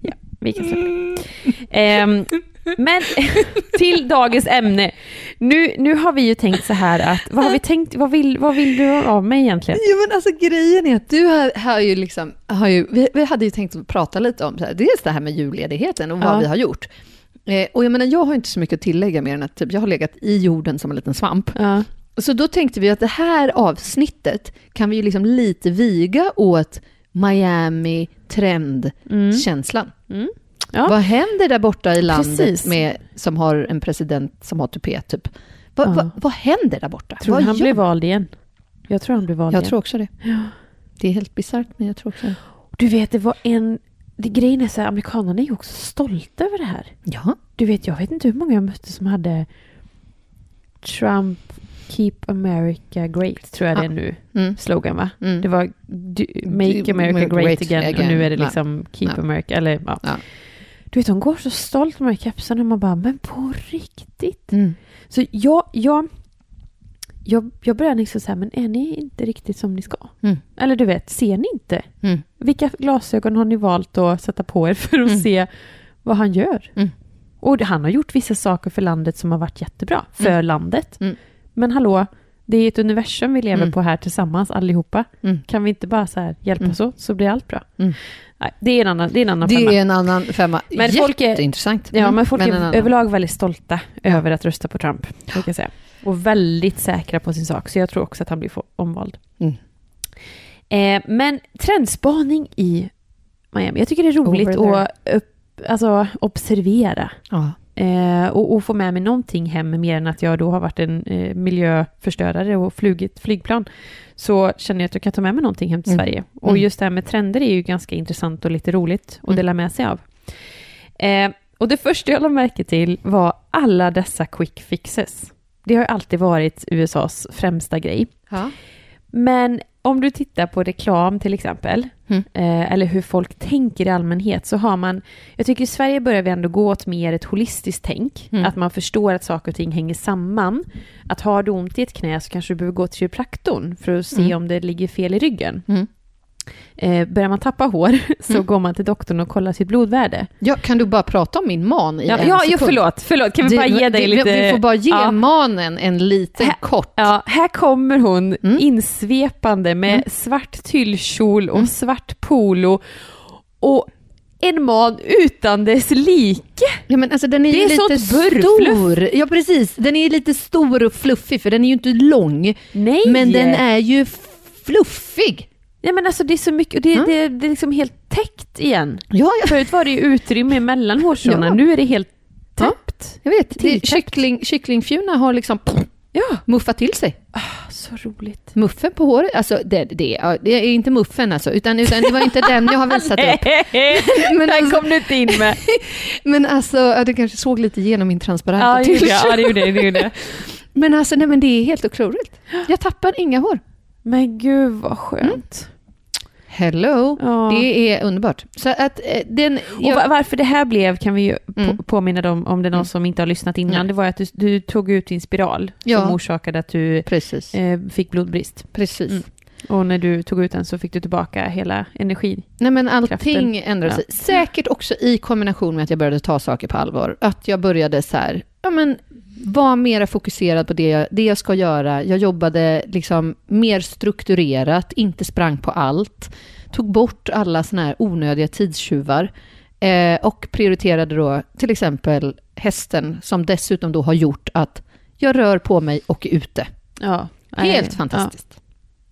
Speaker 2: ja vi kan släppa det. Ehm, Men till dagens ämne. Nu, nu har vi ju tänkt så här att, vad har vi tänkt, vad vill, vad vill du av mig egentligen?
Speaker 1: Jo men alltså grejen är att du har, har ju liksom, har ju, vi, vi hade ju tänkt att prata lite om så här, dels det här med julledigheten och vad
Speaker 2: Ja.
Speaker 1: vi har gjort. Eh, och jag menar, jag har inte så mycket att tillägga mer än att typ, jag har legat i jorden som en liten svamp.
Speaker 2: Ja.
Speaker 1: Så då tänkte vi att det här avsnittet kan vi ju liksom lite viga åt Miami trendkänslan.
Speaker 2: Mm. Ja.
Speaker 1: Vad händer där borta i landet
Speaker 2: Precis.
Speaker 1: med, som har en president som har tupé typ? Va,
Speaker 2: Ja.
Speaker 1: va, vad händer där borta?
Speaker 2: Tror
Speaker 1: vad
Speaker 2: du han
Speaker 1: gör-
Speaker 2: blir vald igen? Jag tror han blir vald
Speaker 1: Jag
Speaker 2: igen.
Speaker 1: tror också det. Det är helt bisarrt men jag tror också det.
Speaker 2: Du vet, det var en... Det, grejen är så här, amerikanerna är ju också stolta över det här.
Speaker 1: Ja.
Speaker 2: Du vet, jag vet inte hur många jag mötte som hade Trump Keep America Great, tror jag det är nu.
Speaker 1: Mm.
Speaker 2: Slogan, va?
Speaker 1: Mm.
Speaker 2: Det var du, Make America Great, again, och nu är det
Speaker 1: Ja.
Speaker 2: liksom Keep
Speaker 1: Ja.
Speaker 2: America, eller ja.
Speaker 1: Ja.
Speaker 2: Du vet, de går så stolt med de här kepsarna, man bara, men på riktigt?
Speaker 1: Mm.
Speaker 2: Så jag, jag, jag, jag börjar liksom säga, men är ni inte riktigt som ni ska?
Speaker 1: Mm.
Speaker 2: Eller du vet, ser ni inte?
Speaker 1: Mm.
Speaker 2: Vilka glasögon har ni valt att sätta på er för att
Speaker 1: Mm.
Speaker 2: se vad han gör?
Speaker 1: Mm.
Speaker 2: Och han har gjort vissa saker för landet som har varit jättebra, för
Speaker 1: Mm.
Speaker 2: landet.
Speaker 1: Mm.
Speaker 2: Men hallå, det är ett universum vi lever
Speaker 1: Mm.
Speaker 2: på här tillsammans allihopa.
Speaker 1: Mm.
Speaker 2: Kan vi inte bara så här hjälpas åt så blir allt bra?
Speaker 1: Mm.
Speaker 2: Nej, det är en annan, det är en annan femma.
Speaker 1: Det är en annan femma.
Speaker 2: Men folk är-
Speaker 1: Jätteintressant. Mm.
Speaker 2: Ja, men folk
Speaker 1: en
Speaker 2: är
Speaker 1: annan.
Speaker 2: överlag väldigt stolta över att rösta på Trump, kan jag säga. Och väldigt säkra på sin sak, så jag tror också att han blir få- omvald.
Speaker 1: Mm.
Speaker 2: Eh, men trendspaning i Miami. Jag tycker det är roligt
Speaker 1: Over
Speaker 2: att upp, alltså, observera
Speaker 1: Ja.
Speaker 2: eh, och, och få med mig någonting hem, mer än att jag då har varit en eh, miljöförstörare och flugit flygplan. Så känner jag att jag kan ta med mig någonting hem till
Speaker 1: Mm.
Speaker 2: Sverige. Och
Speaker 1: Mm.
Speaker 2: just det här med trender är ju ganska intressant och lite roligt att
Speaker 1: Mm.
Speaker 2: dela med sig av. Eh, och det första jag lade märke till var alla dessa quick fixes. Det har ju alltid varit USAs främsta grej.
Speaker 1: Ja.
Speaker 2: Men om du tittar på reklam till exempel,
Speaker 1: Mm.
Speaker 2: eh, eller hur folk tänker i allmänhet, så har man... Jag tycker i Sverige börjar vi ändå gå åt mer ett holistiskt tänk.
Speaker 1: Mm.
Speaker 2: Att man förstår att saker och ting hänger samman. Att har du ont i ett knä så kanske du behöver gå till kiropraktorn för att se
Speaker 1: Mm.
Speaker 2: om det ligger fel i ryggen.
Speaker 1: Mm.
Speaker 2: Eh, börjar man tappa hår så
Speaker 1: Mm.
Speaker 2: går man till doktorn och kollar sitt blodvärde.
Speaker 1: ja, kan du bara prata om min man i
Speaker 2: Ja,
Speaker 1: en
Speaker 2: ja,
Speaker 1: sekund?
Speaker 2: ja förlåt, förlåt. Kan vi bara
Speaker 1: Det-
Speaker 2: ge dig
Speaker 1: det-
Speaker 2: lite...
Speaker 1: Vi får bara ge
Speaker 2: Ja.
Speaker 1: manen en liten
Speaker 2: Här-
Speaker 1: kort.
Speaker 2: Ja, här kommer hon
Speaker 1: Mm.
Speaker 2: insvepande med
Speaker 1: Mm.
Speaker 2: svart tyllkjol och svart polo och en man utan dess like.
Speaker 1: Ja, men alltså, den är,
Speaker 2: Det
Speaker 1: ju
Speaker 2: är
Speaker 1: lite
Speaker 2: sånt burrfluff.
Speaker 1: stor. Ja, precis. Den är lite stor och fluffig, för den är ju inte lång.
Speaker 2: Nej!
Speaker 1: Men den är ju fluffig.
Speaker 2: Ja, men alltså det är så mycket, och det,
Speaker 1: Mm.
Speaker 2: det, det är liksom helt täckt igen.
Speaker 1: Ja, ja,
Speaker 2: Förut var det ju utrymme mellan hårstråna,
Speaker 1: Ja.
Speaker 2: nu är det helt
Speaker 1: Ja.
Speaker 2: täppt.
Speaker 1: jag vet. Det,
Speaker 2: Tilltäppt.
Speaker 1: kyckling, kycklingfjuna har liksom
Speaker 2: Ja.
Speaker 1: muffat till sig.
Speaker 2: Så roligt.
Speaker 1: Muffen på håret, alltså det, det, ja, det är inte muffen alltså, utan, utan det var inte den jag har visat upp. Men
Speaker 2: Den
Speaker 1: alltså,
Speaker 2: kom du inte in med.
Speaker 1: men alltså ja, du kanske såg lite igenom min transparenta
Speaker 2: Ja, det gjorde jag.
Speaker 1: t-shirt.
Speaker 2: Ja, det gjorde jag. Det gjorde jag.
Speaker 1: Men alltså, nej men det är helt otroligt. Jag tappar inga hår.
Speaker 2: Men gud vad skönt.
Speaker 1: Hello!
Speaker 2: Mm. Ja.
Speaker 1: Det är underbart. Så att eh, den...
Speaker 2: Och
Speaker 1: jag-
Speaker 2: va- varför det här blev kan vi ju
Speaker 1: Mm.
Speaker 2: på, påminna dem om det är någon som inte har lyssnat innan.
Speaker 1: Nej.
Speaker 2: Det var att du, du tog ut din spiral
Speaker 1: Ja.
Speaker 2: som orsakade att du
Speaker 1: precis,
Speaker 2: eh, fick blodbrist.
Speaker 1: precis.
Speaker 2: Mm. Och när du tog ut den så fick du tillbaka hela energin.
Speaker 1: Nej men
Speaker 2: Kraften.
Speaker 1: allting ändrar sig. Säkert också i kombination med att jag började ta saker på allvar. Att jag började så här, ja men vara mer fokuserad på det jag, det jag ska göra. Jag jobbade liksom mer strukturerat, inte sprang på allt. Tog bort alla såna här onödiga tidstjuvar. Eh, och prioriterade då till exempel hästen som dessutom då har gjort att jag rör på mig och är ute.
Speaker 2: Ja.
Speaker 1: Helt
Speaker 2: Eh,
Speaker 1: fantastiskt.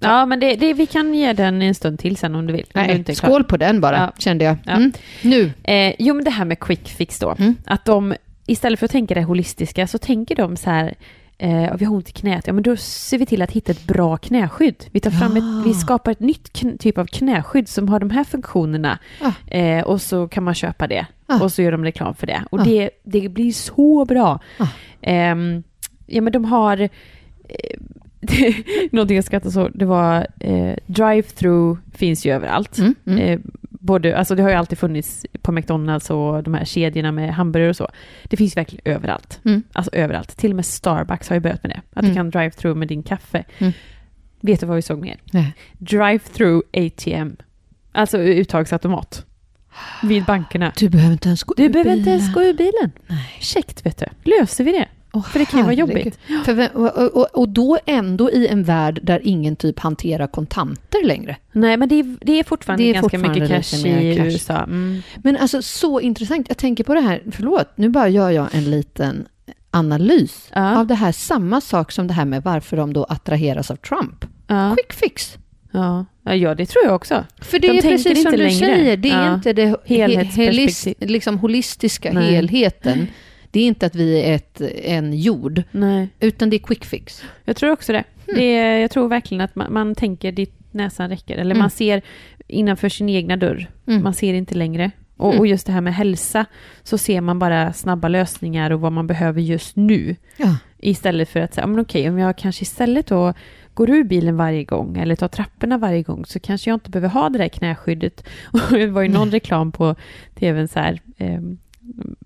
Speaker 2: Ja, ja men det, det, vi kan ge den en stund till sen om du vill. om du
Speaker 1: Nej,
Speaker 2: inte är klar.
Speaker 1: skål på den bara,
Speaker 2: Ja.
Speaker 1: kände jag.
Speaker 2: Ja.
Speaker 1: Mm. Nu.
Speaker 2: Eh, jo, men det här med quick fix då.
Speaker 1: Mm.
Speaker 2: Att de, istället för att tänka det holistiska, så tänker de så här, eh, "Ja, vi har ont i knät, ja men då ser vi till att hitta ett bra knäskydd. Vi tar fram ett,
Speaker 1: Ah.
Speaker 2: vi skapar ett nytt kn- typ av knäskydd som har de här funktionerna.
Speaker 1: Ah.
Speaker 2: Eh, och så kan man köpa det.
Speaker 1: Ah.
Speaker 2: Och så gör de reklam för det. Och
Speaker 1: Ah.
Speaker 2: det, det blir så bra.
Speaker 1: Ah.
Speaker 2: Ehm, ja men de har, eh, någonting jag skrattar så, det var eh, drive-through finns ju överallt.
Speaker 1: Mm. Mm.
Speaker 2: Eh, både, alltså det har ju alltid funnits på McDonalds och de här kedjorna med hamburgare och så. Det finns verkligen överallt.
Speaker 1: Mm.
Speaker 2: Alltså överallt. Till och med Starbucks har ju börjat med det. Att
Speaker 1: Mm.
Speaker 2: du kan drive-through med din kaffe.
Speaker 1: Mm.
Speaker 2: Vet du vad vi såg mer?
Speaker 1: Nej.
Speaker 2: Drive-through ATM. Alltså uttagsautomat. Vid bankerna.
Speaker 1: Du behöver inte ens gå
Speaker 2: Du
Speaker 1: ur
Speaker 2: behöver inte
Speaker 1: bilen.
Speaker 2: ens gå ur bilen.
Speaker 1: Nej.
Speaker 2: Käckt vet du. Löser vi det?
Speaker 1: Åh,
Speaker 2: För det kan ju vara
Speaker 1: herregud.
Speaker 2: jobbigt.
Speaker 1: För, vem- och, och, och då ändå i en värld där ingen typ hanterar kontanter längre.
Speaker 2: Nej, men det är, det är fortfarande
Speaker 1: Det är
Speaker 2: ganska
Speaker 1: fortfarande
Speaker 2: mycket cash
Speaker 1: lite mer
Speaker 2: i
Speaker 1: cash.
Speaker 2: USA. Mm.
Speaker 1: Men alltså så intressant. Jag tänker på det här, förlåt, nu bara gör jag en liten analys
Speaker 2: Ja.
Speaker 1: av det här. Samma sak som det här med varför de då attraheras av Trump.
Speaker 2: Ja.
Speaker 1: Quick fix.
Speaker 2: Ja. ja, det tror jag också.
Speaker 1: För det
Speaker 2: De
Speaker 1: är
Speaker 2: tänker
Speaker 1: precis som
Speaker 2: inte
Speaker 1: du
Speaker 2: längre.
Speaker 1: säger, det är
Speaker 2: Ja.
Speaker 1: inte det
Speaker 2: Helhetsperspektiv.
Speaker 1: helist, liksom holistiska
Speaker 2: Nej.
Speaker 1: helheten. Det är inte att vi är ett, en jord,
Speaker 2: Nej.
Speaker 1: utan det är quick fix.
Speaker 2: Jag tror också det. det är, jag tror verkligen att man, man tänker dit näsan räcker. Eller
Speaker 1: Mm.
Speaker 2: man ser innanför sin egna dörr.
Speaker 1: Mm.
Speaker 2: Man ser inte längre. Och,
Speaker 1: Mm.
Speaker 2: och just det här med hälsa, så ser man bara snabba lösningar och vad man behöver just nu.
Speaker 1: Ja.
Speaker 2: Istället för att säga, "Ja, men okej, om jag kanske istället då går ur bilen varje gång eller tar trapporna varje gång så kanske jag inte behöver ha det där knäskyddet. Och det var ju någon reklam på tvn så här, ehm,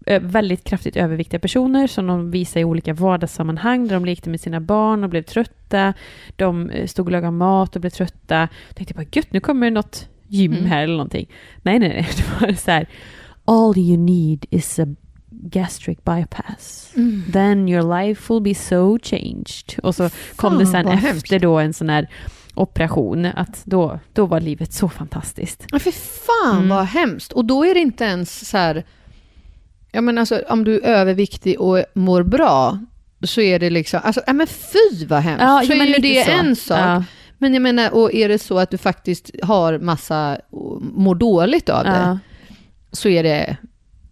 Speaker 2: ö- väldigt kraftigt överviktiga personer som de visade i olika vardagssammanhang där de lekte med sina barn och blev trötta. De eh, stod och lagade mat och blev trötta. Jag tänkte bara, gött, nu kommer det något gym
Speaker 1: Mm.
Speaker 2: här eller någonting. Nej, nej, nej, det var så här, all you need is a gastric bypass.
Speaker 1: Mm.
Speaker 2: Then your life will be so changed. Och så kom det sen
Speaker 1: vad
Speaker 2: efter
Speaker 1: hemskt.
Speaker 2: då en sån här operation, att då, då var livet så fantastiskt.
Speaker 1: Ja, för fan
Speaker 2: Mm.
Speaker 1: vad hemskt. Och då är det inte ens så här... Ja, men alltså, om du är överviktig och mår bra, så är det liksom... Alltså, ja, men fy vad hemskt. så är
Speaker 2: men
Speaker 1: ju
Speaker 2: lite
Speaker 1: det
Speaker 2: så.
Speaker 1: en sak.
Speaker 2: Ja,
Speaker 1: Men jag menar, och är det så att du faktiskt har massa, och mår dåligt av det,
Speaker 2: ja.
Speaker 1: så är det...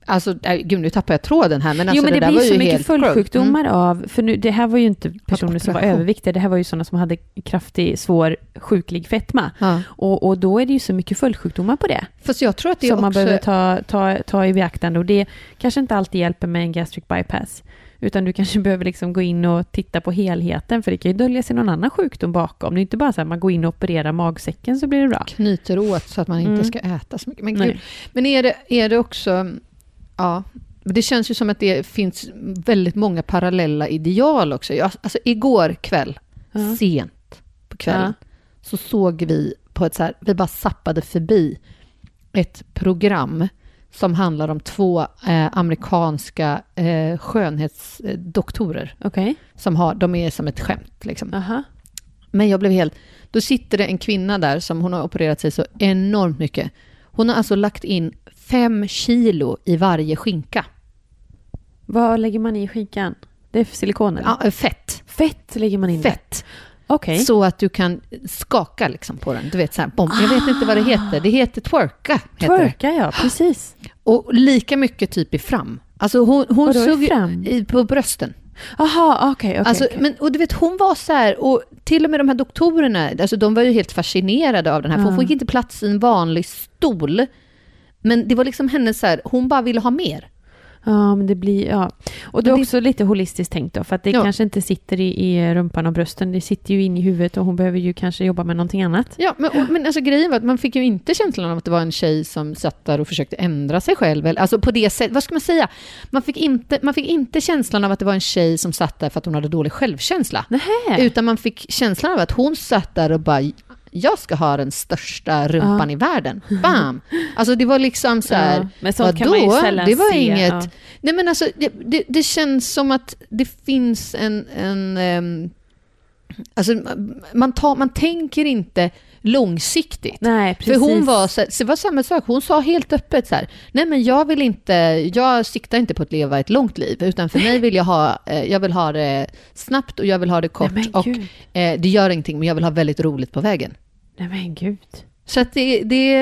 Speaker 1: Alltså, nej, gud nu tappar jag tråden här, men alltså,
Speaker 2: jo men det,
Speaker 1: där
Speaker 2: blir
Speaker 1: var ju
Speaker 2: så mycket
Speaker 1: helt sjukt. Mm.
Speaker 2: följdsjukdomar av, för nu, det här var ju inte personer som var
Speaker 1: operation.
Speaker 2: överviktiga, det här var ju sådana som hade kraftig, svår, sjuklig fetma.
Speaker 1: Mm. Ja.
Speaker 2: Och, och då är det ju så mycket följdsjukdomar på det.
Speaker 1: Fast jag tror att det
Speaker 2: som man
Speaker 1: också...
Speaker 2: behöver ta, ta, ta i beaktande. Och det kanske inte alltid hjälper med en gastric bypass. Utan du kanske behöver liksom gå in och titta på helheten. För det kan ju dölja sig någon annan sjukdom bakom. Det är inte bara så att man går in och opererar magsäcken så blir det bra.
Speaker 1: knyter åt så att man inte
Speaker 2: Mm.
Speaker 1: ska äta så mycket. Men,
Speaker 2: Nej.
Speaker 1: gud. men är, det, är det också... Ja, det känns ju som att det finns väldigt många parallella ideal också. Jag, alltså igår kväll,
Speaker 2: Ja.
Speaker 1: sent på kvällen, så såg vi på ett så här... Vi bara zappade förbi ett program som handlar om två eh, amerikanska eh, skönhetsdoktorer.
Speaker 2: Okej.
Speaker 1: Som har, de är som ett skämt. Liksom.
Speaker 2: Aha.
Speaker 1: Men jag blev helt... Då sitter det en kvinna där som hon har opererat sig så enormt mycket. Hon har alltså lagt in fem kilo i varje skinka.
Speaker 2: Vad lägger man i skinkan? Det är för silikon eller?
Speaker 1: Ja, eh, fett.
Speaker 2: Fett lägger man in där.
Speaker 1: Fett.
Speaker 2: Okej.
Speaker 1: Så att du kan skaka liksom på den. Du vet så här, bom. Jag vet inte vad det heter. Det heter twerka. Heter det.
Speaker 2: Twerka, ja. Precis.
Speaker 1: Och lika mycket typ i fram. Alltså hon, hon
Speaker 2: Vadå i
Speaker 1: såg ju-
Speaker 2: fram?
Speaker 1: i- på brösten.
Speaker 2: Jaha, okej. okej,
Speaker 1: alltså,
Speaker 2: okej.
Speaker 1: men, och du vet, hon var så här, och till och med de här doktorerna, alltså, de var ju helt fascinerade av den här, för hon
Speaker 2: Ja.
Speaker 1: fick inte plats i en vanlig stol. Men det var liksom hennes så här, hon bara ville ha mer.
Speaker 2: Ja, men det blir... Ja. Och det
Speaker 1: Men
Speaker 2: är
Speaker 1: det-
Speaker 2: också lite holistiskt tänkt då, för att det
Speaker 1: Ja.
Speaker 2: kanske inte sitter i, i rumpan och brösten. Det sitter ju in i huvudet och hon behöver ju kanske jobba med någonting annat.
Speaker 1: Ja, men, och, men alltså, grejen var att man fick ju inte känslan av att det var en tjej som satt där och försökte ändra sig själv. eller- Alltså på det sättet, vad ska man säga? Man fick, inte, man fick inte känslan av att det var en tjej som satt där för att hon hade dålig självkänsla.
Speaker 2: Nähä!
Speaker 1: Utan man fick känslan av att hon satt där och bara, jag ska ha den största rumpan i världen. Bam! Alltså det var liksom så här,
Speaker 2: Ja, men sånt kan man ju
Speaker 1: vadå?
Speaker 2: sällan
Speaker 1: Det var
Speaker 2: se,
Speaker 1: inget...
Speaker 2: ja.
Speaker 1: Nej men alltså, det, det, det känns som att det finns en... en ehm, alltså man, tar, man tänker inte långsiktigt.
Speaker 2: Nej, precis.
Speaker 1: För hon var, så, så det var samma sak, hon sa helt öppet så här, nej men jag vill inte, jag siktar inte på att leva ett långt liv, utan för mig vill jag ha, eh, jag vill ha det snabbt och jag vill ha det kort
Speaker 2: Nej, men
Speaker 1: och
Speaker 2: gud.
Speaker 1: eh, det gör ingenting, men jag vill ha väldigt roligt på vägen.
Speaker 2: Nej, men gud.
Speaker 1: Så att det, det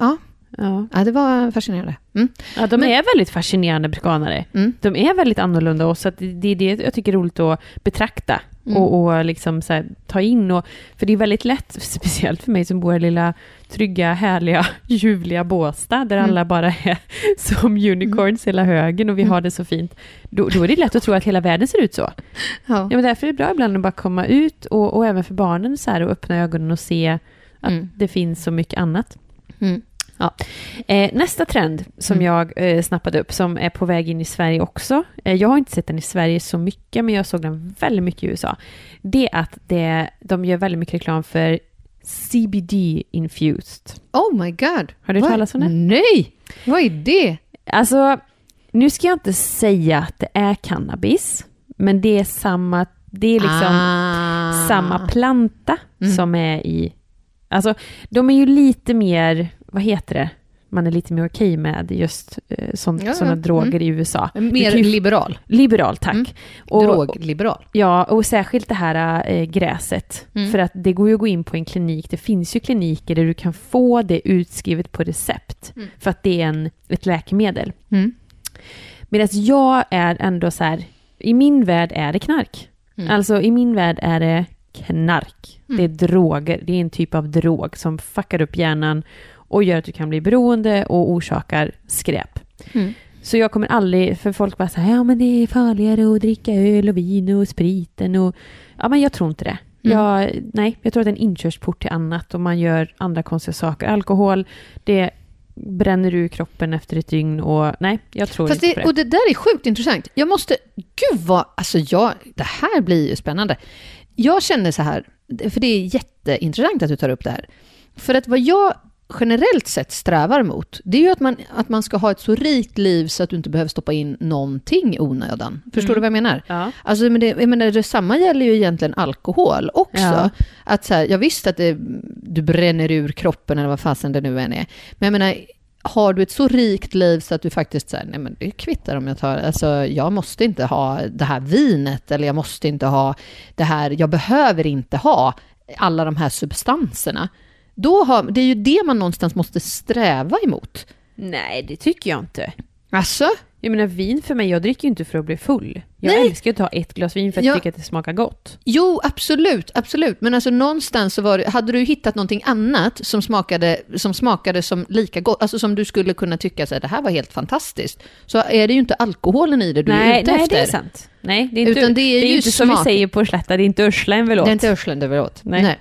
Speaker 1: ja,
Speaker 2: Ja.
Speaker 1: ja, det var fascinerande. Mm.
Speaker 2: Ja, de är väldigt fascinerande veganare.
Speaker 1: Mm.
Speaker 2: De är väldigt annorlunda och så att det är det jag tycker är roligt att betrakta
Speaker 1: Mm.
Speaker 2: och, och liksom så här, ta in. Och, för det är väldigt lätt, speciellt för mig som bor i lilla trygga, härliga, ljuvliga Båstad där
Speaker 1: Mm.
Speaker 2: alla bara är som unicorns hela högen och vi har det så fint. Då, då är det lätt att tro att hela världen ser ut så.
Speaker 1: Ja.
Speaker 2: Ja, men därför är det bra ibland att bara komma ut och, och även för barnen så här och öppna ögonen och se att
Speaker 1: Mm.
Speaker 2: det finns så mycket annat.
Speaker 1: Mm.
Speaker 2: Ja. Eh, nästa trend som jag eh, snappade upp som är på väg in i Sverige också. Eh, jag har inte sett den i Sverige så mycket men jag såg den väldigt mycket i USA. Det är att det, de gör väldigt mycket reklam för CBD-infused.
Speaker 1: Oh my god.
Speaker 2: Har du hört
Speaker 1: Vad-
Speaker 2: talas om det?
Speaker 1: Nej, vad är det?
Speaker 2: Alltså, nu ska jag inte säga att det är cannabis, men det är samma, det är liksom
Speaker 1: Ah.
Speaker 2: samma planta
Speaker 1: Mm.
Speaker 2: som är i... Alltså, de är ju lite mer, vad heter det? Man är lite mer okej med just eh, sånt,
Speaker 1: Ja, ja.
Speaker 2: sådana
Speaker 1: Mm.
Speaker 2: droger i USA. Du
Speaker 1: Mer
Speaker 2: kan ju-
Speaker 1: liberal.
Speaker 2: Liberal, tack.
Speaker 1: Mm.
Speaker 2: Och,
Speaker 1: Drogliberal.
Speaker 2: ja, och särskilt det här eh, gräset.
Speaker 1: Mm.
Speaker 2: För att det går ju att gå in på en klinik. Det finns ju kliniker där du kan få det utskrivet på recept.
Speaker 1: Mm.
Speaker 2: För att det är en, ett läkemedel.
Speaker 1: Mm.
Speaker 2: Medan jag är ändå så här, i min värld är det knark.
Speaker 1: Mm.
Speaker 2: Alltså i min värld är det knark.
Speaker 1: Mm.
Speaker 2: Det är droger, det är en typ av drog som fuckar upp hjärnan och gör att du kan bli beroende och orsakar skräp.
Speaker 1: Mm.
Speaker 2: Så jag kommer aldrig, för folk bara säger ja men det är farligare att dricka öl och vin och spriten och... Ja men jag tror inte det.
Speaker 1: Mm.
Speaker 2: Jag, nej, jag tror att det är en inkörsport till annat och man gör andra konstiga saker. Alkohol, det bränner ur kroppen efter ett dygn och nej, jag tror
Speaker 1: Fast
Speaker 2: inte på
Speaker 1: det,
Speaker 2: det.
Speaker 1: och det där är sjukt intressant. Jag måste, gud vad, alltså jag, det här blir ju spännande. Jag känner så här, för det är jätteintressant att du tar upp det här. För att vad jag generellt sett strävar mot, det är ju att man, att man ska ha ett så rikt liv så att du inte behöver stoppa in någonting i onödan. Förstår du vad jag menar?
Speaker 2: Ja.
Speaker 1: Alltså, men det, jag menar, detsamma gäller ju egentligen alkohol också.
Speaker 2: Ja.
Speaker 1: Att så här, jag visste att det, du bränner ur kroppen eller vad fasen det nu än är. Men jag menar, har du ett så rikt liv så att du faktiskt säger, nej men det kvittar om jag tar, alltså jag måste inte ha det här vinet eller jag måste inte ha det här, jag behöver inte ha alla de här substanserna. Då har, det är ju det man någonstans måste sträva emot.
Speaker 2: Nej, det tycker jag inte.
Speaker 1: Alltså?
Speaker 2: Jag menar vin för mig, jag dricker ju inte för att bli full. Jag
Speaker 1: Nej.
Speaker 2: älskar att ta ett glas vin för att
Speaker 1: Ja.
Speaker 2: jag tycker att det smakar gott.
Speaker 1: Jo, absolut, absolut. Men alltså någonstans så var det, hade du hittat någonting annat som smakade, som smakade som lika gott, alltså som du skulle kunna tycka så här, det här var helt fantastiskt, så är det ju inte alkoholen i det du är
Speaker 2: nej,
Speaker 1: ute
Speaker 2: nej
Speaker 1: efter.
Speaker 2: det är sant. Nej, det är inte,
Speaker 1: Utan det är ju
Speaker 2: inte som
Speaker 1: smak.
Speaker 2: vi säger på slätta, det är inte örsla en
Speaker 1: Det
Speaker 2: velout.
Speaker 1: är inte örslen det var åt.
Speaker 2: Nej.
Speaker 1: Nej.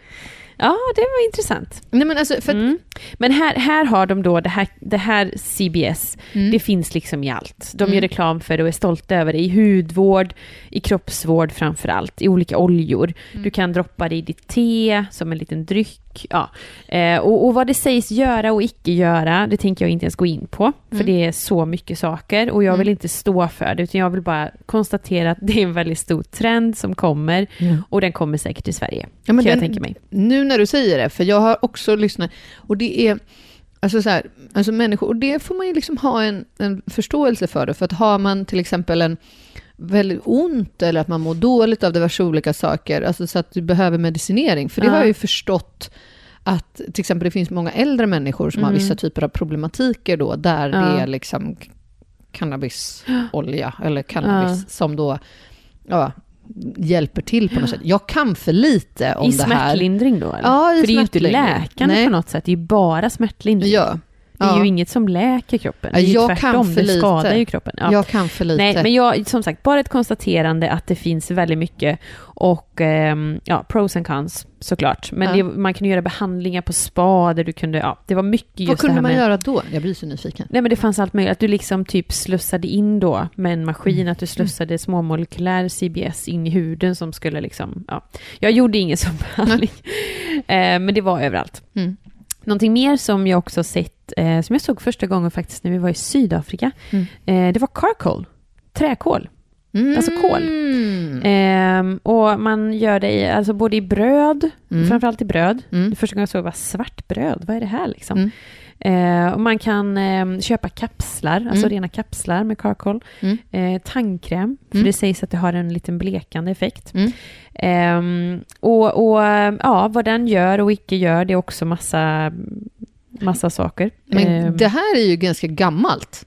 Speaker 2: Ja, det var intressant.
Speaker 1: Nej, men alltså, för att,
Speaker 2: Mm. Men här, här har de då det här, det här CBS,
Speaker 1: Mm.
Speaker 2: det finns liksom i allt. De gör reklam för det och är stolta över det i hudvård, i kroppsvård framför allt, i olika oljor.
Speaker 1: Mm.
Speaker 2: Du kan droppa det i ditt te som en liten dryck. Ja. Eh, och, och vad det sägs göra och icke göra, det tänker jag inte ens gå in på, för
Speaker 1: Mm.
Speaker 2: det är så mycket saker och jag vill inte stå för det, utan jag vill bara konstatera att det är en väldigt stor trend som kommer och den kommer säkert till Sverige,
Speaker 1: Ja, men
Speaker 2: kan jag
Speaker 1: den-
Speaker 2: tänka mig.
Speaker 1: nu när du säger det, för jag har också lyssnat, och det är, alltså så här, alltså människor, och det får man ju liksom ha en, en förståelse för det, för att har man till exempel en väldigt ont eller att man mår dåligt av diverse olika saker, alltså så att du behöver medicinering. För det
Speaker 2: Ja.
Speaker 1: har jag ju förstått att till exempel det finns många äldre människor som har
Speaker 2: Mm.
Speaker 1: vissa typer av problematiker då, där
Speaker 2: Ja.
Speaker 1: det är liksom cannabisolja eller cannabis som då ja, hjälper till på något sätt. Jag kan för lite om
Speaker 2: I
Speaker 1: det här.
Speaker 2: smärtlindring då? Eller?
Speaker 1: Ja, i
Speaker 2: För det är ju inte
Speaker 1: smärtlindring.
Speaker 2: läkande
Speaker 1: Nej.
Speaker 2: på något sätt, det är ju bara smärtlindring.
Speaker 1: Ja.
Speaker 2: Det är
Speaker 1: Ja.
Speaker 2: ju inget som läker kroppen. Det är ju
Speaker 1: Jag kan
Speaker 2: tvärtom,
Speaker 1: för
Speaker 2: det
Speaker 1: lite.
Speaker 2: skadar ju kroppen. Ja.
Speaker 1: Jag kan för lite.
Speaker 2: Nej, men jag, som sagt, bara ett konstaterande att det finns väldigt mycket och ehm, ja, pros and cons såklart. Men
Speaker 1: Ja.
Speaker 2: det, man kunde göra behandlingar på spa där du kunde, ja, det var mycket just
Speaker 1: Vad
Speaker 2: det
Speaker 1: kunde
Speaker 2: här
Speaker 1: man
Speaker 2: med,
Speaker 1: göra då? Jag blir så nyfiken.
Speaker 2: Nej men det fanns allt möjligt, att du liksom typ slussade in då med en
Speaker 1: Mm.
Speaker 2: maskin, att du slussade småmolekylär CBS in i huden som skulle liksom, ja. Jag gjorde ingen sån behandling, eh, men det var överallt.
Speaker 1: Mm.
Speaker 2: Någonting mer som jag också sett, eh, som jag såg första gången faktiskt när vi var i Sydafrika,
Speaker 1: Mm.
Speaker 2: eh, det var charcoal, träkol. Alltså kol.
Speaker 1: Mm.
Speaker 2: Ehm, och man gör det i, alltså både i bröd,
Speaker 1: Mm.
Speaker 2: framförallt i bröd.
Speaker 1: Mm.
Speaker 2: Första gången jag såg var svart bröd, vad är det här liksom?
Speaker 1: Mm.
Speaker 2: Ehm, och man kan ehm, köpa kapslar, alltså
Speaker 1: Mm.
Speaker 2: rena kapslar med karkol.
Speaker 1: Mm.
Speaker 2: Ehm, tandkräm, för
Speaker 1: Mm.
Speaker 2: det sägs att det har en liten blekande effekt.
Speaker 1: Mm.
Speaker 2: Ehm, och och ehm, ja, vad den gör och icke gör, det är också massa, massa saker. Ehm,
Speaker 1: Men det här är ju ganska gammalt.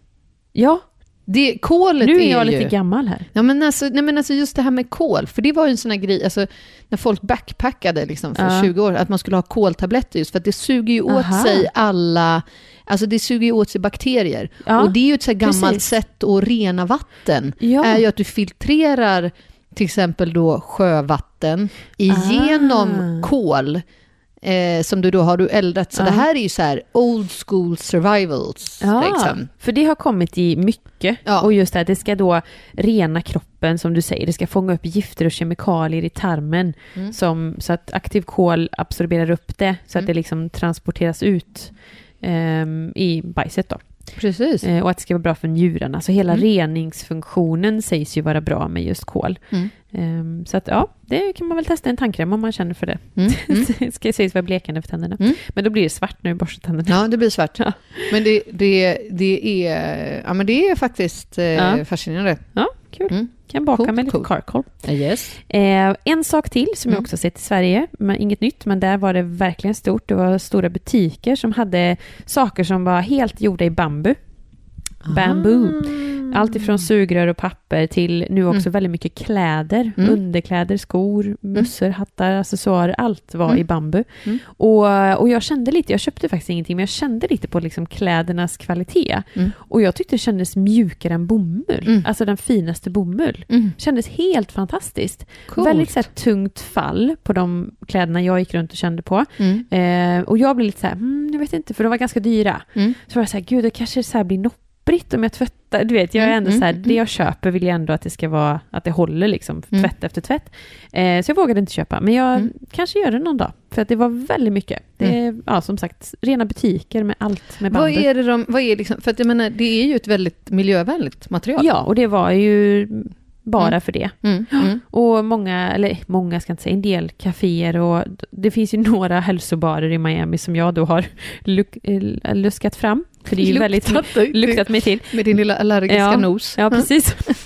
Speaker 2: ja,
Speaker 1: Det, kolet
Speaker 2: nu är jag
Speaker 1: ju...
Speaker 2: lite gammal här.
Speaker 1: Ja, men alltså, nej, men alltså just det här med kol, för det var ju en sån här grej, alltså, när folk backpackade liksom för
Speaker 2: Ja.
Speaker 1: 20 år, att man skulle ha koltabletter just för att det suger ju åt
Speaker 2: Aha.
Speaker 1: sig alla, alltså det suger ju åt sig bakterier.
Speaker 2: Ja,
Speaker 1: Och det är ju ett så här gammalt
Speaker 2: precis.
Speaker 1: sätt att rena vatten,
Speaker 2: Ja.
Speaker 1: är ju att du filtrerar till exempel då sjövatten igenom
Speaker 2: Ah.
Speaker 1: kol, eh, som du då har du eldat. Så
Speaker 2: Ja.
Speaker 1: det här är ju så här old school survivals. liksom.
Speaker 2: för det har kommit i mycket.
Speaker 1: Ja.
Speaker 2: Och just det här, det ska då rena kroppen som du säger. Det ska fånga upp gifter och kemikalier i tarmen.
Speaker 1: Mm.
Speaker 2: Som, så att aktiv kol absorberar upp det så att
Speaker 1: Mm.
Speaker 2: det liksom transporteras ut ehm, i bajset. Då.
Speaker 1: Precis.
Speaker 2: Eh, och att det ska vara bra för njurarna. Så hela
Speaker 1: Mm.
Speaker 2: reningsfunktionen sägs ju vara bra med just kol.
Speaker 1: Mm.
Speaker 2: Ehm, så att ja, det kan man väl testa i en tandkräm om man känner för det.
Speaker 1: Mm. Mm.
Speaker 2: det ska sägs vara blekande för tänderna.
Speaker 1: Mm.
Speaker 2: Men då blir det svart när du borstar tänderna.
Speaker 1: Ja, det blir svart.
Speaker 2: Ja.
Speaker 1: Men det, det, det, är, ja, men det är faktiskt eh,
Speaker 2: Ja.
Speaker 1: fascinerande.
Speaker 2: Ja, kul.
Speaker 1: Mm.
Speaker 2: Kan baka
Speaker 1: Coolt,
Speaker 2: med lite
Speaker 1: coolt.
Speaker 2: karkol.
Speaker 1: Yes.
Speaker 2: Eh, en sak till som jag
Speaker 1: Mm.
Speaker 2: också sett i Sverige, men inget nytt, men där var det verkligen stort. Det var stora butiker som hade saker som var helt gjorda i bambu.
Speaker 1: Ah.
Speaker 2: Bamboo. Allt ifrån sugrör och papper till nu också
Speaker 1: Mm.
Speaker 2: väldigt mycket kläder,
Speaker 1: Mm.
Speaker 2: underkläder, skor, mössor, hattar, accessoarer. Allt var
Speaker 1: Mm.
Speaker 2: i bambu.
Speaker 1: Mm.
Speaker 2: Och, och jag kände lite, jag köpte faktiskt ingenting, men jag kände lite på liksom klädernas kvalitet.
Speaker 1: Mm.
Speaker 2: Och jag tyckte det kändes mjukare än bomull,
Speaker 1: Mm.
Speaker 2: alltså den finaste bomull.
Speaker 1: Mm.
Speaker 2: Kändes helt fantastiskt.
Speaker 1: Coolt.
Speaker 2: Väldigt så här, tungt fall på de kläderna jag gick runt och kände på.
Speaker 1: Mm.
Speaker 2: Eh, och jag blev lite så här, mm, jag vet inte, för de var ganska dyra.
Speaker 1: Mm.
Speaker 2: Så var jag så här, gud, det kanske så här blir nopprigt om jag tvättar. Du vet, jag är
Speaker 1: Mm,
Speaker 2: ändå
Speaker 1: mm,
Speaker 2: så här,
Speaker 1: mm.
Speaker 2: det jag köper vill jag ändå att det ska vara, att det håller liksom,
Speaker 1: Mm.
Speaker 2: tvätt efter tvätt. Eh, så jag vågade inte köpa, men jag
Speaker 1: Mm.
Speaker 2: kanske gör det någon dag. För att det var väldigt mycket. Det är, ja, som sagt, rena butiker med allt med
Speaker 1: Vad
Speaker 2: bambu.
Speaker 1: är det de, vad är liksom, för att jag menar, det är ju ett väldigt miljövänligt material.
Speaker 2: Ja, och det var ju bara
Speaker 1: Mm.
Speaker 2: för det.
Speaker 1: Mm. Mm.
Speaker 2: Och många, eller många ska jag inte säga, en del kaféer och det finns ju några hälsobarer i Miami som jag då har luk, eh, luskat fram. För det är ju väldigt luktat mig till.
Speaker 1: Med din lilla allergiska
Speaker 2: Ja.
Speaker 1: nos.
Speaker 2: Ja, precis.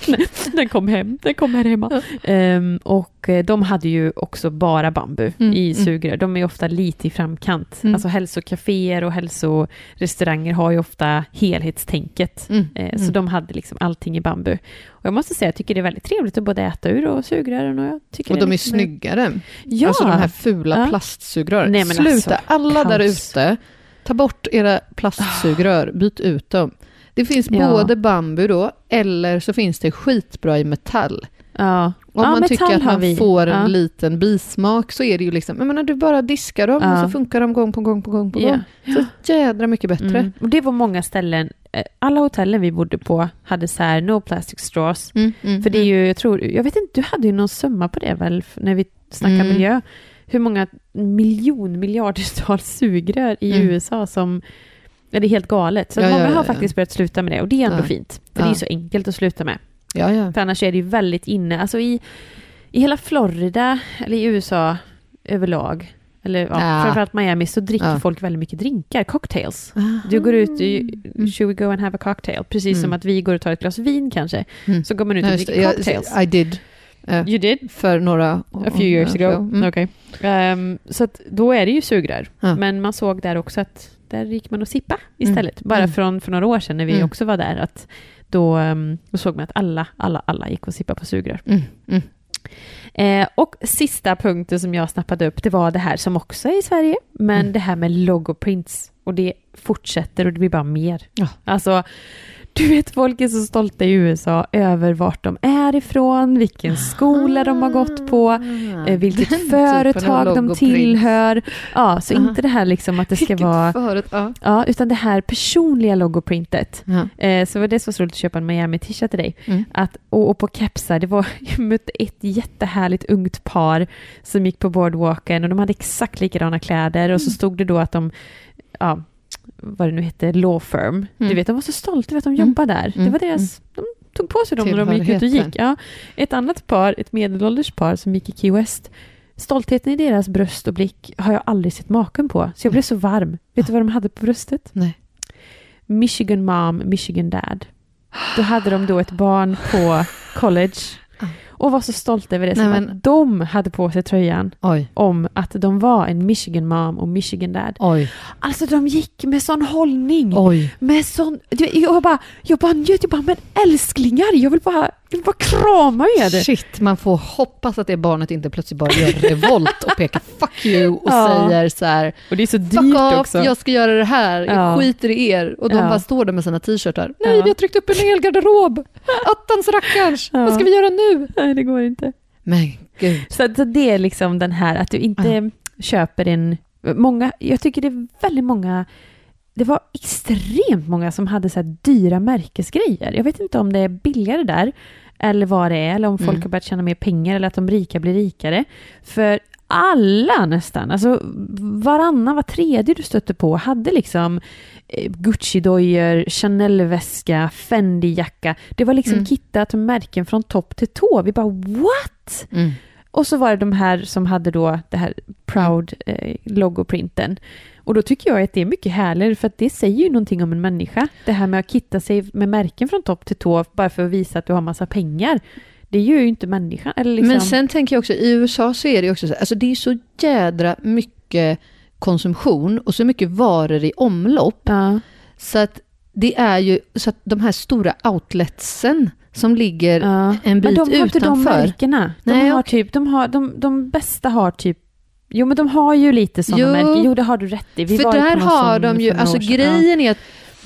Speaker 2: den kom hem. Den kom här hemma. Ehm, och eh, de hade ju också bara bambu
Speaker 1: Mm,
Speaker 2: i
Speaker 1: mm.
Speaker 2: sugrör. De är ofta lite i framkant.
Speaker 1: Mm.
Speaker 2: Alltså hälsokaféer och hälsorestauranger har ju ofta helhetstänket.
Speaker 1: Mm.
Speaker 2: Eh,
Speaker 1: Mm.
Speaker 2: Så de hade liksom allting i bambu. Och jag måste säga, jag tycker det är väldigt trevligt att både äta ur och sugrören. Och jag tycker
Speaker 1: Och
Speaker 2: det
Speaker 1: de är
Speaker 2: liksom-
Speaker 1: snyggare.
Speaker 2: Ja,
Speaker 1: Alltså de här fula
Speaker 2: Ja.
Speaker 1: plastsugrören.
Speaker 2: Nej, men
Speaker 1: Sluta,
Speaker 2: alltså,
Speaker 1: alla där
Speaker 2: kaos.
Speaker 1: ute, ta bort era plastsugrör, byt ut dem. Det finns
Speaker 2: Ja.
Speaker 1: både bambu då, eller så finns det skitbra i metall.
Speaker 2: ja.
Speaker 1: Om
Speaker 2: Ja,
Speaker 1: man
Speaker 2: metall
Speaker 1: tycker att
Speaker 2: har
Speaker 1: man
Speaker 2: vi.
Speaker 1: får en
Speaker 2: Ja.
Speaker 1: liten bismak så är det ju liksom, jag menar du bara diskar dem
Speaker 2: Ja.
Speaker 1: och så funkar de gång på gång på gång på
Speaker 2: Ja.
Speaker 1: gång. Så jädra mycket bättre.
Speaker 2: Mm. Och det var många ställen, eh, alla hotellen vi bodde på hade så här no plastic straws.
Speaker 1: Mm, mm,
Speaker 2: För det är
Speaker 1: mm.
Speaker 2: ju, jag tror, jag vet inte, du hade ju någon summa på det väl, f- när vi snackade
Speaker 1: Mm.
Speaker 2: miljö. Hur många miljon, miljardtals sugrör i
Speaker 1: Mm.
Speaker 2: USA som, ja det är helt galet. Så
Speaker 1: Ja, ja,
Speaker 2: många
Speaker 1: ja,
Speaker 2: har
Speaker 1: ja.
Speaker 2: faktiskt börjat sluta med det och det är ändå
Speaker 1: Ja.
Speaker 2: fint. För
Speaker 1: Ja.
Speaker 2: det är ju så enkelt att sluta med.
Speaker 1: ja, ja.
Speaker 2: För annars är det ju väldigt inne, alltså i, i hela Florida, eller i USA överlag, eller ja,
Speaker 1: Ja.
Speaker 2: framförallt Miami, så dricker
Speaker 1: Ja.
Speaker 2: folk väldigt mycket drinkar, cocktails.
Speaker 1: Ah.
Speaker 2: Du går ut, you- should we go and have a cocktail? Precis
Speaker 1: Mm.
Speaker 2: som att vi går och tar ett glas vin kanske,
Speaker 1: Mm.
Speaker 2: så går man ut
Speaker 1: Ja,
Speaker 2: och
Speaker 1: just det.
Speaker 2: dricker
Speaker 1: Jag-
Speaker 2: cocktails.
Speaker 1: I did. eh,
Speaker 2: You did?
Speaker 1: För några
Speaker 2: A few years ago.
Speaker 1: Mm.
Speaker 2: Okej. Ehm, så att då är det ju sugrör.
Speaker 1: Ja.
Speaker 2: Men man såg där också att där gick man och sippa
Speaker 1: Mm.
Speaker 2: istället. Bara
Speaker 1: Mm.
Speaker 2: från för några år sedan när vi
Speaker 1: Mm.
Speaker 2: också var där. Att då, ehm, då såg man att alla, alla, alla gick och sippa på sugrör.
Speaker 1: Mm. Mm.
Speaker 2: Eh, och sista punkten som jag snappade upp, det var det här som också är i Sverige, men
Speaker 1: Mm.
Speaker 2: det här med logoprints. Och det fortsätter och det blir bara mer.
Speaker 1: Ja.
Speaker 2: Alltså, du vet folk är så stolta i USA över vart de är ifrån, vilken skola de har gått
Speaker 1: Ah.
Speaker 2: på. Eh, vilket
Speaker 1: Den typen av
Speaker 2: företag de
Speaker 1: logoprins.
Speaker 2: tillhör. Ja, så
Speaker 1: Aha.
Speaker 2: inte det här liksom att det ska
Speaker 1: Vilket
Speaker 2: vara...
Speaker 1: förut, ja.
Speaker 2: Ja, utan det här personliga logoprintet.
Speaker 1: Ja.
Speaker 2: Eh, så det var det som var så roligt att köpa en Miami-tisha till dig.
Speaker 1: Mm.
Speaker 2: Att, och, och på kepsar, det var, jag mötte ett jättehärligt ungt par som gick på boardwalken och de hade exakt likadana kläder och så
Speaker 1: Mm.
Speaker 2: stod det då att de, ja, vad det nu hette, law firm. Du
Speaker 1: Mm.
Speaker 2: vet, de var så stolta över att de
Speaker 1: Mm.
Speaker 2: jobbade där. Det
Speaker 1: Mm.
Speaker 2: var deras, de tog på sig dem när de gick ut och
Speaker 1: Tillhörigheten.
Speaker 2: gick. Ja. Ett annat par, ett medelålders par som gick i Key West, stoltheten i deras bröst och blick har jag aldrig sett maken på. Så jag blev så varm. Vet du vad de hade på bröstet?
Speaker 1: Nej.
Speaker 2: Michigan mom, Michigan dad. Då hade de då ett barn på college
Speaker 1: Ah.
Speaker 2: och var så stolta över det.
Speaker 1: Nej,
Speaker 2: som
Speaker 1: men-
Speaker 2: att de hade på sig tröjan
Speaker 1: Oj,
Speaker 2: om att de var en Michigan mom och Michigan dad.
Speaker 1: oj,
Speaker 2: Alltså de gick med sån hållning.
Speaker 1: oj.
Speaker 2: Med sån... Du, jag, bara, jag bara njöt. Jag bara, men älsklingar, jag vill bara, jag vill bara krama er.
Speaker 1: Shit, man får hoppas att det barnet inte plötsligt bara gör revolt och pekar fuck you och
Speaker 2: Ja.
Speaker 1: säger så här
Speaker 2: Och det är så
Speaker 1: fuck off, jag ska göra det här,
Speaker 2: Ja.
Speaker 1: jag skiter i er. Och de
Speaker 2: Ja.
Speaker 1: bara står där med sina t-shirtar.
Speaker 2: Ja.
Speaker 1: Nej, vi har tryckt upp en hel garderob! Attans rackarns,
Speaker 2: Ja.
Speaker 1: vad ska vi göra nu?
Speaker 2: Nej, det går inte.
Speaker 1: Men gud.
Speaker 2: Så, att- så det är liksom den här att du inte köper en... Många, jag tycker det är väldigt många... Det var extremt många som hade så här dyra märkesgrejer. Jag vet inte om det är billigare där eller vad det är, eller om folk
Speaker 1: Mm.
Speaker 2: har börjat tjäna mer pengar eller att de rika blir rikare. För alla nästan, alltså varannan, var tredje du stötte på hade liksom eh, Gucci-dojor, Chanel-väska, Fendi-jacka. Det var liksom
Speaker 1: Mm.
Speaker 2: kittat med märken från topp till tå. Vi bara what?
Speaker 1: Mm.
Speaker 2: Och så var det de här som hade då det här proud
Speaker 1: Mm.
Speaker 2: eh, logoprinten. Och då tycker jag att det är mycket härligare för att det säger ju någonting om en människa. Det här med att kitta sig med märken från topp till tå bara för att visa att du har massa pengar. Det gör ju inte människan. Eller liksom,
Speaker 1: Men sen tänker jag också, i USA så är det ju också så, här, alltså det är så jädra mycket konsumtion och så mycket varor i omlopp.
Speaker 2: ja.
Speaker 1: Så att det är ju, så att de här stora outletsen som ligger
Speaker 2: Ja.
Speaker 1: en bit
Speaker 2: men de har inte de
Speaker 1: utanför.
Speaker 2: märkena. De,
Speaker 1: Nej,
Speaker 2: har
Speaker 1: okej.
Speaker 2: typ, de, har, de, de bästa har typ Jo, men de har ju lite sådana
Speaker 1: Jo.
Speaker 2: märken. Jo, det har du rätt i. Vi
Speaker 1: För
Speaker 2: var ju
Speaker 1: där
Speaker 2: på någon
Speaker 1: har
Speaker 2: sån
Speaker 1: de ju,
Speaker 2: för några
Speaker 1: alltså
Speaker 2: år sedan.
Speaker 1: grejen är att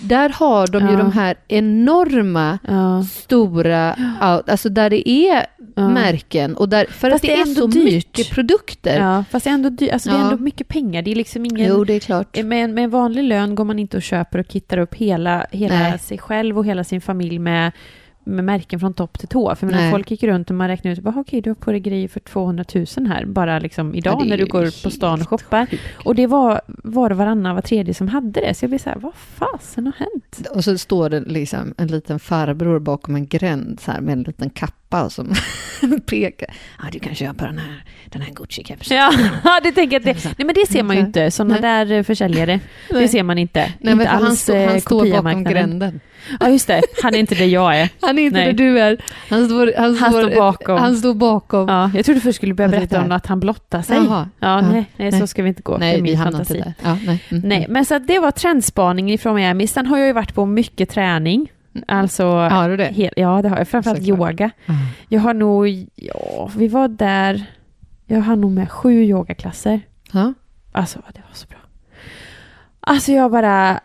Speaker 1: där har de ju
Speaker 2: Ja.
Speaker 1: de här enorma,
Speaker 2: Ja. Ja.
Speaker 1: stora, out, alltså där det är
Speaker 2: Ja.
Speaker 1: märken och där, för
Speaker 2: Fast
Speaker 1: att det,
Speaker 2: det är
Speaker 1: är
Speaker 2: ändå
Speaker 1: så
Speaker 2: dyrt.
Speaker 1: mycket produkter.
Speaker 2: Ja, fast det är ändå, dy- alltså, det är
Speaker 1: Ja.
Speaker 2: ändå mycket pengar. Det är liksom ingen...
Speaker 1: Jo, det är klart.
Speaker 2: Eh, Med en, med en vanlig lön går man inte och köper och kittar upp hela, hela
Speaker 1: Nej.
Speaker 2: sig själv och hela sin familj med, med märken från topp till tå. För jag menar,
Speaker 1: Nej.
Speaker 2: folk gick runt och man räknade ut, bara, okej du har på dig grejer för 200 000 här, bara liksom idag
Speaker 1: Ja, det är
Speaker 2: när du
Speaker 1: ju
Speaker 2: går på stan och
Speaker 1: helt
Speaker 2: shoppar.
Speaker 1: sjukt.
Speaker 2: Och det var, var det varannan, var tredje som hade det. Så jag blev så här, vad fasen har hänt?
Speaker 1: Och så står det liksom en liten farbror bakom en gränd så här, med en liten kappa som pekar. Ja, du kan köpa den här, den här Gucci-kepsen.
Speaker 2: Ja, det tänker jag att det, nej men det ser man ju inte, sådana
Speaker 1: Nej.
Speaker 2: där eh, försäljare, det
Speaker 1: Nej.
Speaker 2: ser man inte.
Speaker 1: Nej,
Speaker 2: inte
Speaker 1: men för han, stå,
Speaker 2: eh,
Speaker 1: han står bakom
Speaker 2: kopiamarknaden.
Speaker 1: gränden.
Speaker 2: Ja, just det. Han är inte det jag är.
Speaker 1: Han är inte
Speaker 2: Nej.
Speaker 1: där du är. Han står, han
Speaker 2: Han
Speaker 1: står,
Speaker 2: står bakom.
Speaker 1: Han står bakom.
Speaker 2: Ja, jag trodde först skulle börja
Speaker 1: Ja, Alltså, det är
Speaker 2: berätta om
Speaker 1: där.
Speaker 2: att han blottar sig.
Speaker 1: Jaha.
Speaker 2: Ja,
Speaker 1: Ja.
Speaker 2: nej, nej, så
Speaker 1: Nej.
Speaker 2: ska vi inte gå. Det är
Speaker 1: Nej,
Speaker 2: min
Speaker 1: vi hamnar
Speaker 2: fantasi.
Speaker 1: inte där. Ja, nej. Mm.
Speaker 2: Nej, men så att det var trendspaning ifrån Miami. Sen har jag ju varit på mycket träning. Alltså, ja,
Speaker 1: Har du det?
Speaker 2: hel, ja det har jag. Framförallt
Speaker 1: Såklart.
Speaker 2: yoga. Jag har nog, ja, vi var där, jag har nog med sju yogaklasser.
Speaker 1: Ja.
Speaker 2: Alltså, det var så bra. Alltså jag bara,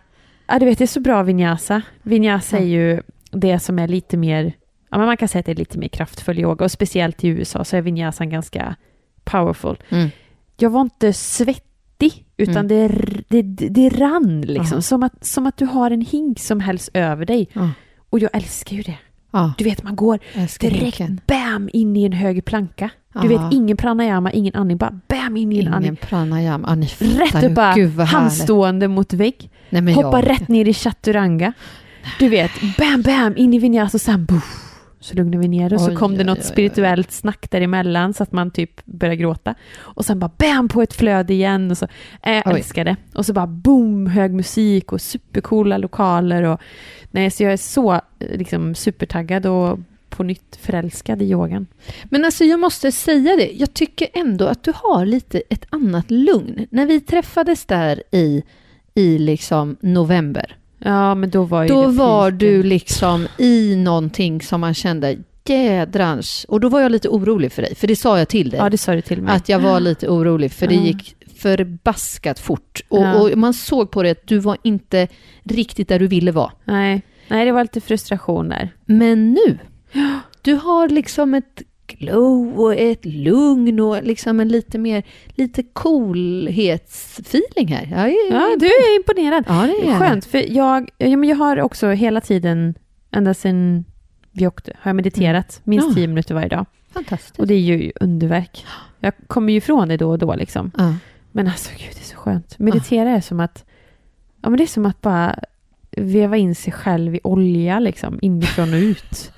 Speaker 2: ja, du vet det är så bra vinyasa. Vinyasa är ju det som är lite mer, ja men man kan säga att det är lite mer kraftfull yoga och speciellt i USA så är vinyasan ganska powerful.
Speaker 1: Mm.
Speaker 2: Jag var inte svettig utan
Speaker 1: Mm.
Speaker 2: det, r- det, det, det rann liksom.
Speaker 1: Aha.
Speaker 2: Som att, som att du har en hink som hälls över dig.
Speaker 1: Ja.
Speaker 2: Och jag älskar ju det.
Speaker 1: Ja.
Speaker 2: Du vet man går direkt
Speaker 1: Direkt.
Speaker 2: bam in i en hög planka. Du
Speaker 1: Aha.
Speaker 2: vet ingen pranayama, ingen andning, bara bam in i en andning.
Speaker 1: Ingen pranayama. Ja, ni fattar
Speaker 2: Rätt
Speaker 1: ju.
Speaker 2: upp bara,
Speaker 1: Gud vad härligt.
Speaker 2: handstående mot vägg.
Speaker 1: Nej, men
Speaker 2: Hoppa
Speaker 1: jag-
Speaker 2: rätt ner i chaturanga. Du vet, bam, bam, in i vinyasa och sen boof. så lugnade vi ner oss. Så
Speaker 1: Oj,
Speaker 2: kom det
Speaker 1: oj,
Speaker 2: något
Speaker 1: oj, oj.
Speaker 2: spirituellt snack däremellan så att man typ började gråta. Och sen bara bam på ett flöde igen. Och så, äh, jag
Speaker 1: Oj.
Speaker 2: älskar det. Och så bara boom, hög musik och supercoola lokaler. Och, nej, så jag är så eh, liksom, supertaggad och på nytt förälskad i yogan.
Speaker 1: Men alltså jag måste säga det, jag tycker ändå att du har lite ett annat lugn. När vi träffades där i, i liksom november,
Speaker 2: Ja, men då var ju
Speaker 1: då
Speaker 2: det
Speaker 1: var
Speaker 2: fiken.
Speaker 1: du liksom i någonting som man kände jädrans. Och då var jag lite orolig för dig, för det sa jag till dig.
Speaker 2: Ja, det sa du till mig.
Speaker 1: att jag var lite orolig, för det
Speaker 2: Ja.
Speaker 1: gick förbaskat fort. Och,
Speaker 2: Ja.
Speaker 1: och man såg på det att du var inte riktigt där du ville vara.
Speaker 2: Nej. nej, det var lite frustration där.
Speaker 1: Men nu, du har liksom ett glow och ett lugn och liksom en lite mer, lite coolhetsfeeling här. Jag är,
Speaker 2: Ja, du är imponerad.
Speaker 1: ja, det är jag.
Speaker 2: Skönt, för jag, ja, men jag har också hela tiden, ända sedan vi åkte, har jag mediterat minst
Speaker 1: Ja.
Speaker 2: tio minuter varje dag.
Speaker 1: Fantastiskt.
Speaker 2: Och det är ju underverk. Jag kommer ju ifrån det då och då liksom.
Speaker 1: Ja.
Speaker 2: Men alltså gud, det är så skönt. Meditera är som att, ja men det är som att bara veva in sig själv i olja liksom, inifrån och ut.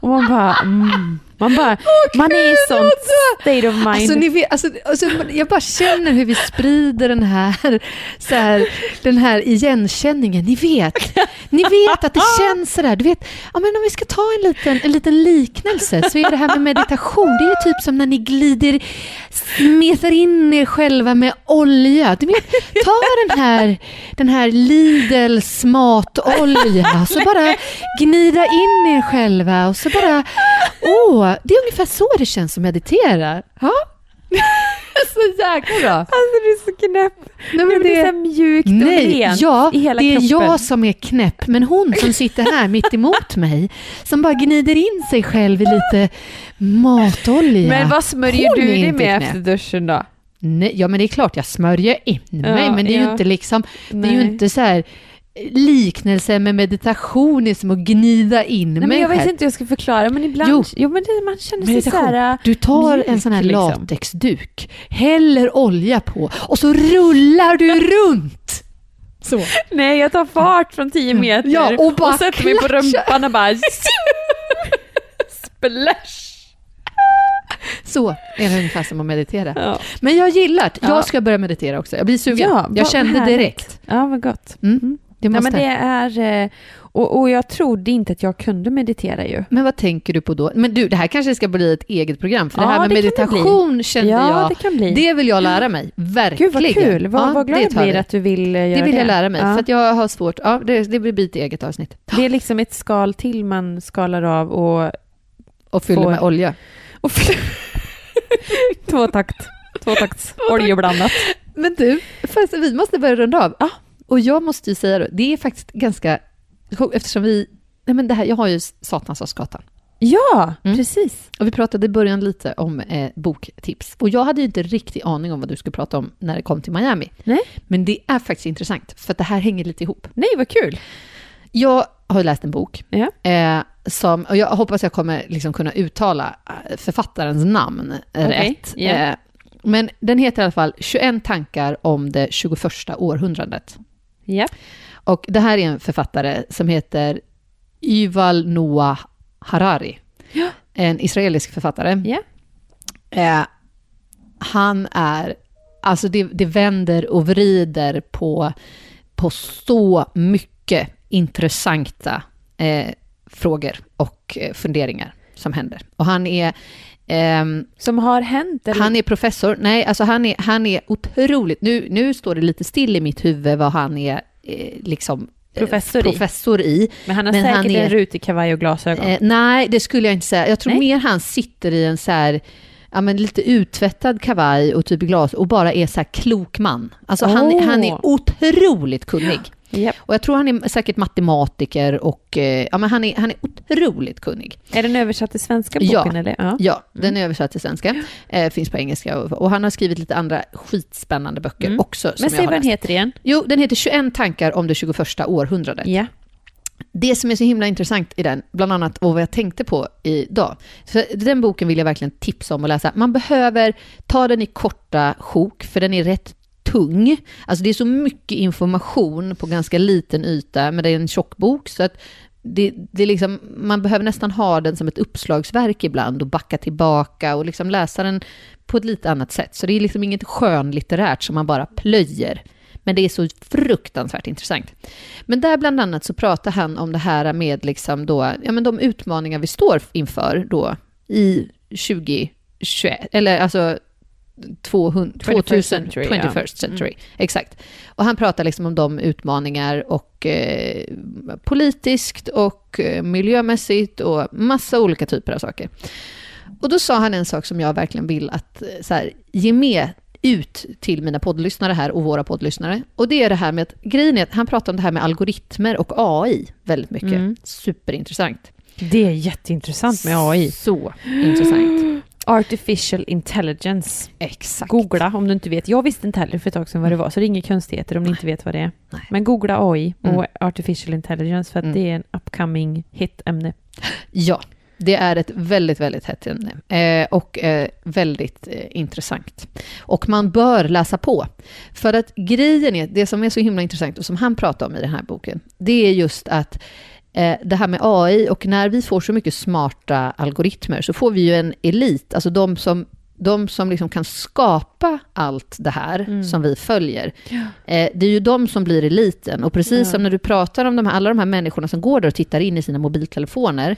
Speaker 2: Och man bara, mm, man bara, man är i sånt state of mind.
Speaker 1: Alltså, ni vet, alltså, alltså, jag bara känner hur vi sprider den här, så här, den här igenkänningen. Ni vet, ni vet att det känns sådär. Du vet, ja, men om vi ska ta en liten, en liten liknelse så är det här med meditation, det är ju typ som när ni glider, smetar in er själva med olja. Du vet, ta den här, den här Lidls matolja och så bara gnida in er själva och så bara, åh, det är ungefär så det känns att meditera. Ja. Så jäkla bra.
Speaker 2: Alltså du är så knäpp.
Speaker 1: Nej,
Speaker 2: Men det är så
Speaker 1: det,
Speaker 2: här mjukt och
Speaker 1: nej,
Speaker 2: rent
Speaker 1: ja,
Speaker 2: i hela
Speaker 1: det är
Speaker 2: kroppen.
Speaker 1: jag som är knäpp, men hon som sitter här mitt emot mig, som bara gnider in sig själv i lite matolja.
Speaker 2: Men vad smörjer
Speaker 1: Hon
Speaker 2: du
Speaker 1: är
Speaker 2: dig
Speaker 1: inte
Speaker 2: med
Speaker 1: knäpp.
Speaker 2: efter duschen då?
Speaker 1: Nej, ja, men det är klart jag smörjer in mig,
Speaker 2: Ja,
Speaker 1: men det är
Speaker 2: ja.
Speaker 1: ju inte liksom, det är ju
Speaker 2: Nej.
Speaker 1: inte så här eh, liknelse med meditation är som att gnida in
Speaker 2: Nej,
Speaker 1: mig
Speaker 2: men jag vet
Speaker 1: själv.
Speaker 2: inte hur jag ska förklara, men ibland... Jo,
Speaker 1: Jo.
Speaker 2: men det, man känner sig så
Speaker 1: Meditation.
Speaker 2: här... äh,
Speaker 1: Du tar
Speaker 2: mjuk,
Speaker 1: en sån här
Speaker 2: liksom.
Speaker 1: latexduk, häller olja på och så rullar du runt. Så.
Speaker 2: Nej, jag tar fart från 10 meter
Speaker 1: Mm. Ja, och bara
Speaker 2: sätter mig på
Speaker 1: klatschar.
Speaker 2: rumpan och bara... Splash!
Speaker 1: Så är det ungefär som att meditera.
Speaker 2: Ja,
Speaker 1: Men jag gillar det.
Speaker 2: Ja.
Speaker 1: Jag ska börja meditera också. Jag blir sugen.
Speaker 2: Ja, vad
Speaker 1: jag kände
Speaker 2: härligt.
Speaker 1: direkt.
Speaker 2: ja vad gott.
Speaker 1: Mm. Det
Speaker 2: Nej,
Speaker 1: måste.
Speaker 2: men
Speaker 1: men,
Speaker 2: det är... eh, Och, och jag trodde inte att jag kunde meditera ju.
Speaker 1: vad tänker du på då? Men du, det här kanske ska bli ett eget program. För
Speaker 2: Ja,
Speaker 1: det här med
Speaker 2: det kan det bli.
Speaker 1: meditation kände
Speaker 2: ja,
Speaker 1: jag,
Speaker 2: det kan bli.
Speaker 1: det... vill jag lära mig. Verkligen.
Speaker 2: Gud vad kul. Vad,
Speaker 1: Ja,
Speaker 2: vad glad
Speaker 1: det
Speaker 2: jag
Speaker 1: tar
Speaker 2: blir
Speaker 1: vi.
Speaker 2: att du vill eh, göra det.
Speaker 1: Det vill jag lära mig.
Speaker 2: Ja.
Speaker 1: För att jag har svårt. Ja, det, det blir ett eget avsnitt.
Speaker 2: Det är liksom ett skal till man skalar av och...
Speaker 1: Och fyller
Speaker 2: Får-
Speaker 1: med olja.
Speaker 2: och Tvåtakt. Tvåtakts oljeblandat.
Speaker 1: Men du, fast vi måste börja runda av.
Speaker 2: Ah.
Speaker 1: Och jag måste ju säga då, det är faktiskt ganska... Eftersom vi... Nej men det här, jag har ju Satans Asgatan.
Speaker 2: Ja,
Speaker 1: Mm.
Speaker 2: precis.
Speaker 1: Och vi pratade i början lite om eh, boktips. Och jag hade ju inte riktig aning om vad du skulle prata om när det kom till Miami.
Speaker 2: Nej.
Speaker 1: Men det är faktiskt intressant, för att det här hänger lite ihop.
Speaker 2: Nej, vad kul.
Speaker 1: Jag har ju läst en bok,
Speaker 2: Ja.
Speaker 1: eh, som, och jag hoppas jag kommer liksom kunna uttala eh, författarens namn rätt.
Speaker 2: ja.
Speaker 1: Eh, men den heter i alla fall 21 tankar om det 21 århundradet.
Speaker 2: Ja.
Speaker 1: Och det här är en författare som heter Yuval Noah Harari.
Speaker 2: Ja.
Speaker 1: En israelisk författare.
Speaker 2: Ja.
Speaker 1: Eh, han är, alltså det, det vänder och vrider på, på så mycket intressanta eh, frågor och eh, funderingar som händer. Och han är, ehm,
Speaker 2: Som har hänt? Eller?
Speaker 1: han är professor. Nej, alltså han är, han är otroligt... Nu, nu står det lite still i mitt huvud vad han är eh, liksom, eh,
Speaker 2: Professor i.
Speaker 1: professor i.
Speaker 2: men han har
Speaker 1: men
Speaker 2: säkert
Speaker 1: han är-
Speaker 2: en rutig kavaj och glasögon.
Speaker 1: Eh, nej, det skulle jag inte säga. Jag tror
Speaker 2: Nej.
Speaker 1: mer han sitter i en så här... Ja, men lite uttvättad kavaj och typ glas och bara är så här klok man. Alltså han,
Speaker 2: Åh.
Speaker 1: han är otroligt kunnig.
Speaker 2: Japp.
Speaker 1: Och jag tror han är säkert matematiker och eh, ja, men han, är, han är otroligt kunnig.
Speaker 2: Är den översatt till svenska
Speaker 1: Ja.
Speaker 2: boken? Eller? Ja. Mm.
Speaker 1: Ja, den är översatt till svenska. Eh, finns på engelska och, och han har skrivit lite andra skitspännande böcker
Speaker 2: Mm.
Speaker 1: också. Som
Speaker 2: Men säg
Speaker 1: jag
Speaker 2: vad
Speaker 1: har
Speaker 2: den
Speaker 1: läst.
Speaker 2: heter igen.
Speaker 1: Jo, den heter 21 tankar om det 21 århundradet.
Speaker 2: Ja.
Speaker 1: Det som är så himla intressant i den, bland annat och vad jag tänkte på idag. Så den boken vill jag verkligen tipsa om att läsa. Man behöver ta den i korta sjok, för den är rätt tung. Alltså det är så mycket information på ganska liten yta, men det är en tjock bok. Så att det, det är liksom, man behöver nästan ha den som ett uppslagsverk ibland och backa tillbaka och liksom läsa den på ett lite annat sätt. Så det är liksom inget skönlitterärt som man bara plöjer. Men det är så fruktansvärt intressant. Men där bland annat så pratar han om det här med liksom då, ja men de utmaningar vi står inför då i 2021, eller alltså 200,
Speaker 2: 21st
Speaker 1: 2000,
Speaker 2: century,
Speaker 1: 21st century. Exakt. Och han pratar liksom om de utmaningar och eh, politiskt och eh, miljömässigt och massa olika typer av saker. Och då sa han en sak som jag verkligen vill att eh, så här, ge med ut till mina poddlyssnare här och våra poddlyssnare. Och det är det här med att, grejen är att han pratar om det här med algoritmer och AI väldigt mycket.
Speaker 2: Mm.
Speaker 1: Superintressant.
Speaker 2: Det är jätteintressant med AI.
Speaker 1: Så intressant.
Speaker 2: Mm. Artificial intelligence.
Speaker 1: Exakt. Mm.
Speaker 2: Googla om du inte vet. Jag visste inte heller för ett tag sedan vad det var, så det är inga konstigheter om ni inte vet vad det är.
Speaker 1: Nej.
Speaker 2: Men googla AI och
Speaker 1: Mm.
Speaker 2: artificial intelligence för att
Speaker 1: Mm.
Speaker 2: det är en upcoming hit-ämne.
Speaker 1: Ja, det är ett väldigt, väldigt hett ämne eh, och eh, väldigt eh, intressant. Och man bör läsa på. För att grejen är, det som är så himla intressant och som han pratar om i den här boken, det är just att eh, det här med AI och när vi får så mycket smarta algoritmer så får vi ju en elit, alltså de som de som liksom kan skapa allt det här
Speaker 2: Mm.
Speaker 1: som vi följer, eh, det är ju de som blir eliten. Och precis
Speaker 2: Ja.
Speaker 1: som när du pratar om de här, alla de här människorna som går där och tittar in i sina mobiltelefoner,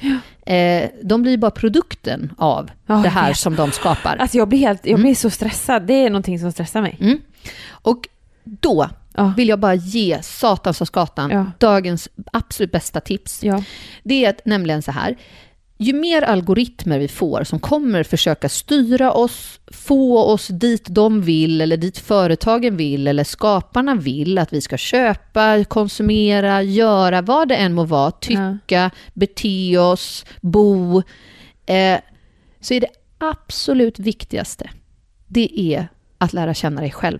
Speaker 1: eh, de blir ju bara produkten av
Speaker 2: Ja,
Speaker 1: det
Speaker 2: jag
Speaker 1: här
Speaker 2: vet.
Speaker 1: som de skapar.
Speaker 2: Alltså jag blir, helt, jag
Speaker 1: Mm.
Speaker 2: blir så stressad. Det är någonting som stressar mig.
Speaker 1: Mm. Och då
Speaker 2: Ja.
Speaker 1: vill jag bara ge satans och skatan
Speaker 2: Ja.
Speaker 1: dagens absolut bästa tips.
Speaker 2: Ja.
Speaker 1: Det är att, nämligen så här, ju mer algoritmer vi får som kommer försöka styra oss, få oss dit de vill eller dit företagen vill eller skaparna vill att vi ska köpa, konsumera, göra, vad det än må vara, tycka, bete oss, bo, eh, så är det absolut viktigaste, det är att lära känna dig själv.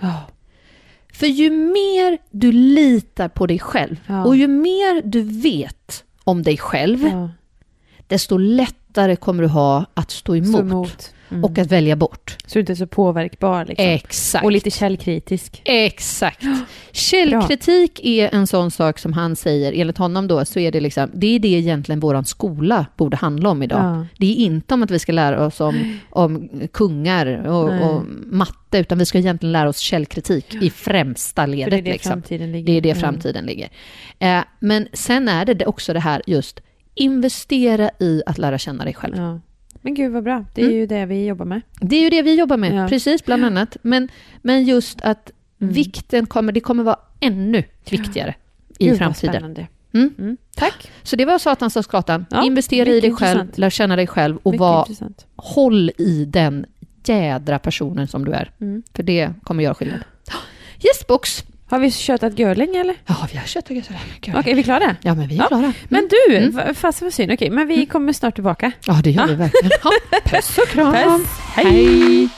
Speaker 2: Ja.
Speaker 1: För ju mer du litar på dig själv
Speaker 2: Ja.
Speaker 1: och ju mer du vet om dig själv,
Speaker 2: Ja.
Speaker 1: desto lättare kommer du ha att stå emot,
Speaker 2: Stå emot. Mm.
Speaker 1: och att välja bort.
Speaker 2: Så du inte är så påverkbar liksom.
Speaker 1: Eh, Exakt.
Speaker 2: Och lite källkritisk.
Speaker 1: Exakt. Källkritik är en sån sak som han säger, enligt honom då, så är det liksom, det är det egentligen våran skola borde handla om idag.
Speaker 2: Ja.
Speaker 1: Det är inte om att vi ska lära oss om, om kungar
Speaker 2: Nej.
Speaker 1: och, och matte, utan vi ska egentligen lära oss källkritik i främsta
Speaker 2: För
Speaker 1: ledet.
Speaker 2: det är det
Speaker 1: liksom.
Speaker 2: framtiden ligger.
Speaker 1: Det är det
Speaker 2: Mm.
Speaker 1: framtiden ligger. Eh, men sen är det det också det här just investera i att lära känna dig själv.
Speaker 2: Ja. Men gud vad bra. Det är
Speaker 1: Mm.
Speaker 2: ju det vi jobbar med.
Speaker 1: Det är ju det vi jobbar med,
Speaker 2: Ja.
Speaker 1: precis bland annat. Men, men just att
Speaker 2: Mm.
Speaker 1: vikten kommer, det kommer vara ännu viktigare i
Speaker 2: Gud, vad
Speaker 1: framtiden.
Speaker 2: spännande.
Speaker 1: Mm.
Speaker 2: Tack.
Speaker 1: Så det var Satans och Skatan.
Speaker 2: Ja,
Speaker 1: investera i
Speaker 2: mycket
Speaker 1: dig själv,
Speaker 2: intressant.
Speaker 1: lär känna dig själv och
Speaker 2: Mycket
Speaker 1: var,
Speaker 2: intressant.
Speaker 1: håll i den jädra personen som du är.
Speaker 2: Mm.
Speaker 1: För det kommer göra skillnad. Yes box!
Speaker 2: Har vi köttat Görling eller?
Speaker 1: Ja, vi har kött och sådär.
Speaker 2: Okej, är vi klara?
Speaker 1: Ja, men vi är
Speaker 2: Ja.
Speaker 1: klara.
Speaker 2: Men du,
Speaker 1: Mm.
Speaker 2: mm. fast vad synd. Okej, men vi kommer snart tillbaka.
Speaker 1: Ja, det gör vi verkligen. Ja, puss och kram!
Speaker 2: Puss. Hej.
Speaker 1: Hej.